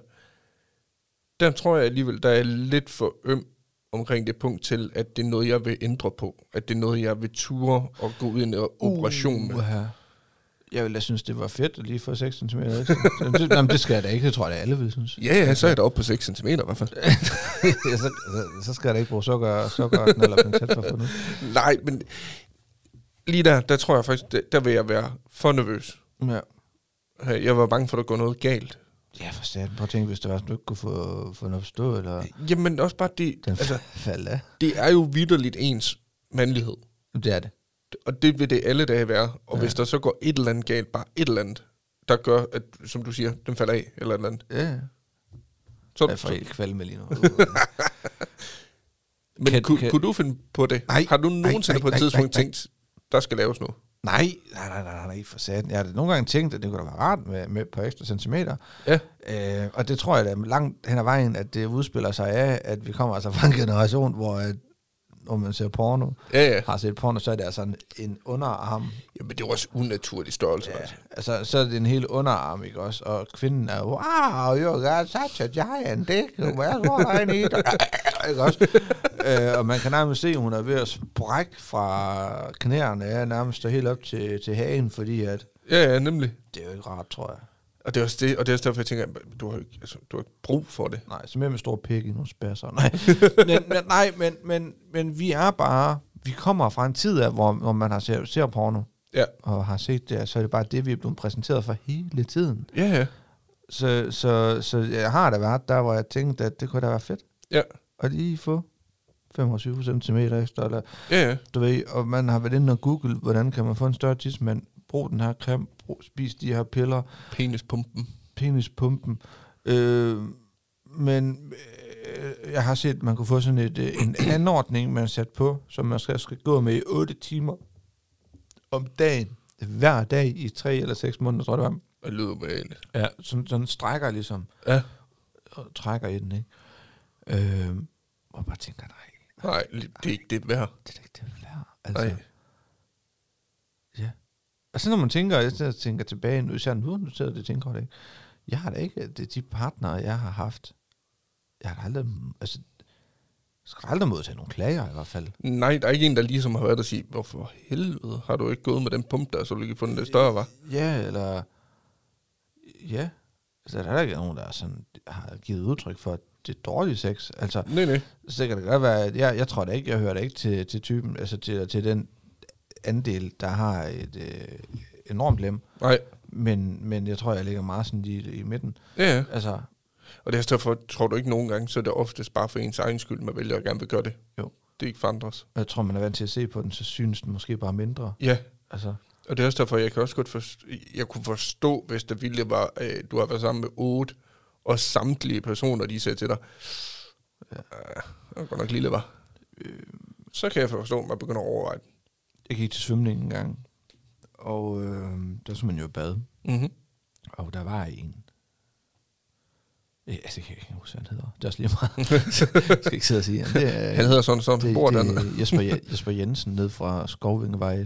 Speaker 2: der tror jeg alligevel, der er jeg lidt for øm omkring det punkt til, at det er noget, jeg vil ændre på. At det er noget, jeg vil ture og gå ud i en
Speaker 1: Uh.
Speaker 2: operation med.
Speaker 1: Uha. Jeg ville da synes, det var fedt at lige få 6 cm ekstra. det, jamen, det skal jeg da ikke. Det tror jeg, da alle vil synes.
Speaker 2: Ja, ja, så er jeg da oppe på 6 cm i hvert fald.
Speaker 1: Ja, så, så, så, skal jeg da ikke bruge sukker, og sukker og knald og pincet for at få det.
Speaker 2: Nej, men lige der, der tror jeg faktisk, der, der vil jeg være for nervøs.
Speaker 1: Ja.
Speaker 2: Jeg var bange for, at der går noget galt.
Speaker 1: Ja, for satan. Prøv at tænke, hvis det var sådan, du ikke kunne få, få den opstå, eller
Speaker 2: Jamen også bare det,
Speaker 1: den
Speaker 2: Øh, altså,
Speaker 1: altså, faldt af.
Speaker 2: det er jo vidderligt ens mandlighed.
Speaker 1: Det er det.
Speaker 2: Og det vil det alle dage være. Og
Speaker 1: Ja.
Speaker 2: ja. hvis der så går et eller andet galt, bare et eller andet, der gør, at, som du siger, den falder af, eller et eller andet.
Speaker 1: Ja.
Speaker 2: Så,
Speaker 1: Jeg får
Speaker 2: så,
Speaker 1: helt kvalme lige nu.
Speaker 2: men
Speaker 1: Kan-
Speaker 2: kan, kunne,
Speaker 1: kan-
Speaker 2: kunne du finde på det?
Speaker 1: Nej,
Speaker 2: Har du
Speaker 1: nej,
Speaker 2: nogensinde
Speaker 1: nej,
Speaker 2: på et
Speaker 1: nej,
Speaker 2: tidspunkt
Speaker 1: nej, nej.
Speaker 2: tænkt, der skal laves noget?
Speaker 1: nej, nej, nej, nej, nej, for satan. Jeg har da nogle gange tænkt, at det kunne da være rart med, med et par ekstra centimeter.
Speaker 2: Ja.
Speaker 1: Øh, og det tror jeg da langt hen ad vejen, at det udspiller sig af, at vi kommer altså fra en generation, hvor at, når man ser porno,
Speaker 2: Ja, ja.
Speaker 1: har set porno, så er det altså en, en underarm.
Speaker 2: Jamen, det er jo også unaturlig størrelse. Ja. Altså.
Speaker 1: Altså, så er det en hel underarm, ikke også? Og kvinden er, wow, you got such a giant dick, where's what I need? ikke også? øh, og man kan nærmest se, at hun er ved at sprække fra knæerne, ja, nærmest og helt op til, til hagen, fordi at,
Speaker 2: Ja, ja, nemlig.
Speaker 1: det er jo ikke rart, tror jeg.
Speaker 2: Og det er også det, og det er også derfor, jeg tænker, at du har, jo ikke, altså, du har ikke brug for det.
Speaker 1: Nej, så mere med stor pik i nogle spasser. Nej, men, men, nej men, men, men vi er bare, vi kommer fra en tid af, hvor, hvor man har ser, ser porno.
Speaker 2: Ja.
Speaker 1: og har set det, så er det bare det, vi er blevet præsenteret for hele tiden.
Speaker 2: Ja, ja.
Speaker 1: Så, så, så jeg har da været der, hvor jeg tænkte, at det kunne da være fedt.
Speaker 2: Ja.
Speaker 1: At lige få 25 cm ekstra, eller
Speaker 2: Ja, ja.
Speaker 1: du ved, og man har været inde og google, hvordan kan man få en større tidsmand, brug den her creme, brug, spis de her piller,
Speaker 2: Penispumpen.
Speaker 1: penispumpen. Øh, men øh, jeg har set, at man kunne få sådan et, øh, en anordning, man sat på, som man skal, skal gå med i 8 timer om dagen, hver dag i 3 eller 6 måneder, tror jeg det var.
Speaker 2: Det lyder ubehageligt.
Speaker 1: Ja, sådan, sådan strækker ligesom.
Speaker 2: Ja.
Speaker 1: Og trækker i den, ikke? Øh, og bare tænker, nej,
Speaker 2: Nej, det er ikke det værd.
Speaker 1: det er da ikke det værd. Altså,
Speaker 2: Nej.
Speaker 1: Ja. Og så når man tænker, jeg sidder og tænker tilbage, nu især nu, nu sidder jeg og tænker over det, ikke? jeg har da ikke, det er de partnere, jeg har haft, jeg har da aldrig, altså, skal da aldrig modtage nogle klager i hvert fald.
Speaker 2: Nej, der er ikke en, der ligesom har været og sige, hvorfor helvede har du ikke gået med den pump, der er så lykkelig fundet lidt større, var?
Speaker 1: Ja, eller, ja, altså, der er da ikke nogen, der er sådan, har givet udtryk for, at det er dårlig sex. Altså,
Speaker 2: Nej, nej.
Speaker 1: så kan det godt være, at jeg, jeg tror da ikke, jeg hører da ikke til, til typen, altså til, til den andel, der har et øh, enormt lem.
Speaker 2: Nej.
Speaker 1: Men, men jeg tror, jeg ligger meget sådan lige i midten.
Speaker 2: Ja, ja.
Speaker 1: Altså,
Speaker 2: Og det er også derfor, tror du ikke nogen gange, så er det oftest bare for ens egen skyld, man vælger at gerne vil gøre det.
Speaker 1: Jo.
Speaker 2: Det er ikke for andres.
Speaker 1: jeg tror, man er vant til at se på den, så synes den måske bare mindre.
Speaker 2: Ja,
Speaker 1: Altså,
Speaker 2: og det er også derfor, jeg kan også godt forstå, jeg kunne forstå, hvis der ville var, øh, du har været sammen med otte, og samtlige personer, de sagde til dig, ja. godt nok lille, var. Øh. Så kan jeg forstå, at man begynder at overveje det.
Speaker 1: jeg gik til svømning en gang, og øh, der skulle man jo i bad, Mhm.
Speaker 2: Mm-hmm.
Speaker 1: og der var en. Ja, altså, jeg kan ikke huske, hvad han hedder. Det er også lige meget. jeg skal ikke sidde og sige, jamen, det er,
Speaker 2: Han hedder sådan, som han
Speaker 1: det,
Speaker 2: bor dernede.
Speaker 1: det, Jesper, Je- Jesper Jensen ned fra Skovvingevej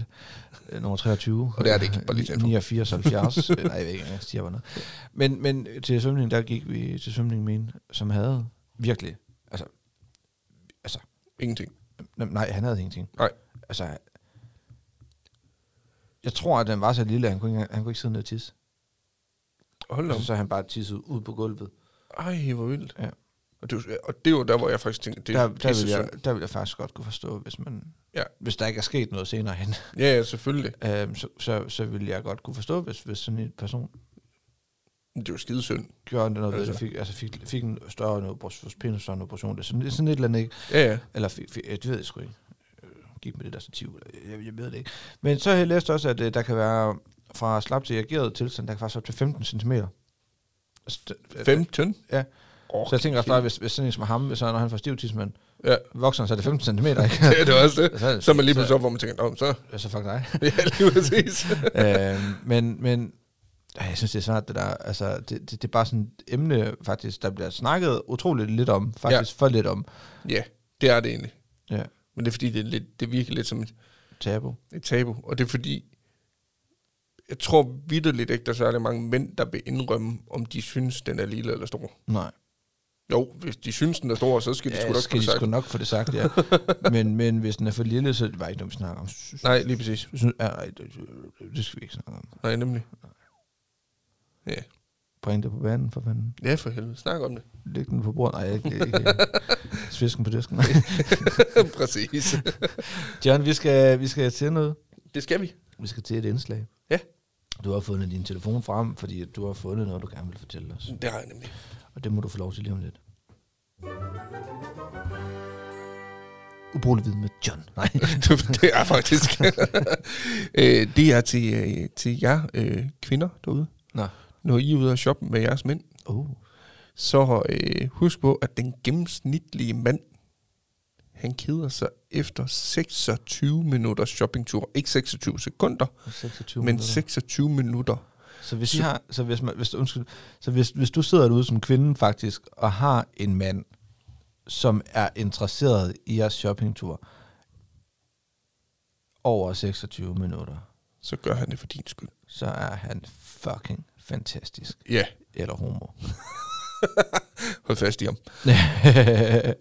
Speaker 1: øh, nummer 23.
Speaker 2: Og det er det ikke, bare lige til info.
Speaker 1: 89, 70. øh, Nej, jeg ved ikke, engang, jeg siger bare noget. Men, men til svømning, der gik vi til svømning med en, som havde virkelig, altså, altså,
Speaker 2: Ingenting.
Speaker 1: Nå, Nej, han havde ingenting.
Speaker 2: Nej.
Speaker 1: Altså, jeg tror, at den var så lille, at han kunne ikke, han kunne ikke sidde ned og tisse.
Speaker 2: Hold da op.
Speaker 1: Altså, så han bare tissede ud på gulvet.
Speaker 2: Ej, hvor vildt.
Speaker 1: Ja.
Speaker 2: Og det, er jo- og det er jo der, hvor jeg faktisk tænker, det
Speaker 1: der,
Speaker 2: er
Speaker 1: der, vil
Speaker 2: pissesynd.
Speaker 1: jeg, der vil jeg faktisk godt kunne forstå, hvis man...
Speaker 2: Ja.
Speaker 1: Hvis der ikke er sket noget senere hen,
Speaker 2: Ja, ja, selvfølgelig.
Speaker 1: øhm, så, så, så ville jeg godt kunne forstå, hvis, hvis sådan en person
Speaker 2: Men Det er jo skidesynd.
Speaker 1: gjorde noget, altså.
Speaker 2: Altså.
Speaker 1: Ved, det, fik, altså fik, fik en større operation, penisstørre operation, det er sådan, sådan et eller andet, ikke?
Speaker 2: Ja, ja.
Speaker 1: Eller, fi- fi- ja, det ved jeg sgu ikke. Øh, Gik med det der stativ, eller jeg, jeg ved det ikke. Men så har jeg læst også, at øh, der kan være fra slap til reageret tilstand, der kan faktisk op til 15 cm. Altså, det-
Speaker 2: 15?
Speaker 1: Ja.
Speaker 2: Oh,
Speaker 1: Så jeg tænker også bare, hvis, hvis sådan en som ham, hvis han, når han får stiv tidsmand,
Speaker 2: Ja.
Speaker 1: vokser han, så er det 15 cm, ikke? Altså,
Speaker 2: ja, det var også det.
Speaker 1: så,
Speaker 2: Så er man lige pludselig op, hvor man tænker, Nå, men så
Speaker 1: så, så fuck dig.
Speaker 2: ja, lige præcis.
Speaker 1: øhm, men, men ej, jeg synes, det er svært, det der. Altså, det, det, det er bare sådan et emne, faktisk, der bliver snakket utroligt lidt om. Faktisk ja. for lidt om.
Speaker 2: ja, det er det egentlig.
Speaker 1: Ja,
Speaker 2: Men det er fordi, det, er lidt, det virker lidt som et,
Speaker 1: tabu.
Speaker 2: et tabu. Og det er fordi, jeg tror vidderligt ikke, der er særlig mange mænd, der vil indrømme, om de synes, den er lille eller stor.
Speaker 1: Nej.
Speaker 2: Jo, hvis de synes, den er stor, så skal de sgu
Speaker 1: Ja,
Speaker 2: da
Speaker 1: skal de
Speaker 2: ikke
Speaker 1: sgu
Speaker 2: kunne
Speaker 1: nok få det sagt, ja. men, men hvis den er for lille, så er det bare ikke noget, vi snakker om. Synes-
Speaker 2: Nej, lige præcis.
Speaker 1: synes- ja, Nej, det, det- det skal vi ikke snakke om.
Speaker 2: Nej, nemlig. Ja.
Speaker 1: Bring det på banen, for fanden.
Speaker 2: Ja, for helvede. Snak om det.
Speaker 1: Læg den på bordet. Nej, ikke, ikke. Svisken på disken.
Speaker 2: præcis.
Speaker 1: John, vi skal, vi skal til noget.
Speaker 2: Det skal vi.
Speaker 1: Vi skal til et indslag.
Speaker 2: Ja.
Speaker 1: Du har fundet din telefon frem, fordi at du har fundet noget, du gerne vil fortælle os.
Speaker 2: Det har jeg nemlig.
Speaker 1: Og det må du få lov til lige om lidt. Ubrugelig viden med John. Nej.
Speaker 2: det er faktisk. øh, det er til, øh, til jer øh, kvinder derude.
Speaker 1: Nå.
Speaker 2: Når I er ude og shoppe med jeres mænd,
Speaker 1: Oh.
Speaker 2: så øh, husk på, at den gennemsnitlige mand, han keder sig efter 26 minutters shoppingtur. Ikke 26 sekunder,
Speaker 1: 26
Speaker 2: men
Speaker 1: minutter.
Speaker 2: 26 minutter.
Speaker 1: Så hvis, I har, så hvis, man, hvis, undskyld, så hvis, hvis du sidder derude som kvinde faktisk, og har en mand, som er interesseret i jeres shoppingtur, over 26 minutter,
Speaker 2: Så gør han det for din skyld.
Speaker 1: så er han fucking fantastisk.
Speaker 2: Ja,
Speaker 1: Eller homo.
Speaker 2: hold fast i ham.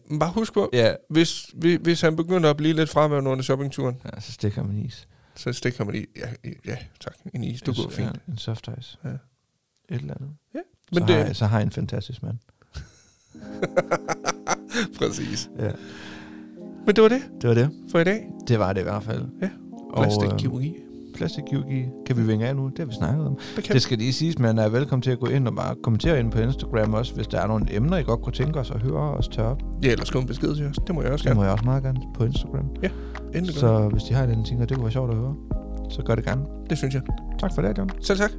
Speaker 2: Men Bare husk på,
Speaker 1: ja,
Speaker 2: hvis, hvis, hvis han begynder at blive lidt fremad under shoppingturen,
Speaker 1: ja, så stikker man is.
Speaker 2: så stikker man i. Ja, ja tak. En is, det går
Speaker 1: En-
Speaker 2: fint.
Speaker 1: En, en soft ice.
Speaker 2: Ja.
Speaker 1: Et eller andet. Men
Speaker 2: Men
Speaker 1: så,
Speaker 2: det
Speaker 1: det... har
Speaker 2: er
Speaker 1: jeg, så har jeg en fantastisk mand.
Speaker 2: præcis.
Speaker 1: Ja.
Speaker 2: Men det var det
Speaker 1: Det var det.
Speaker 2: for i dag.
Speaker 1: Det var det i hvert fald.
Speaker 2: Ja.
Speaker 1: Og, øh,
Speaker 2: Plastikkirurgi.
Speaker 1: plastikkirurgi. Kan vi vinge af nu? Det har vi snakket om.
Speaker 2: Det kan
Speaker 1: Det skal lige siges, men er velkommen til at gå ind og bare kommentere ind på Instagram også, hvis der er nogle emner, I godt kunne tænke os at høre os tørre op.
Speaker 2: Ja, eller skriv en besked til os. Det må jeg også
Speaker 1: Det
Speaker 2: gerne.
Speaker 1: må jeg også meget gerne på Instagram.
Speaker 2: Endelig gør
Speaker 1: Så hvis de har den ting, og det kunne være sjovt at høre, så gør det gerne.
Speaker 2: jeg. Det synes jeg.
Speaker 1: Tak for det, John.
Speaker 2: Selv tak.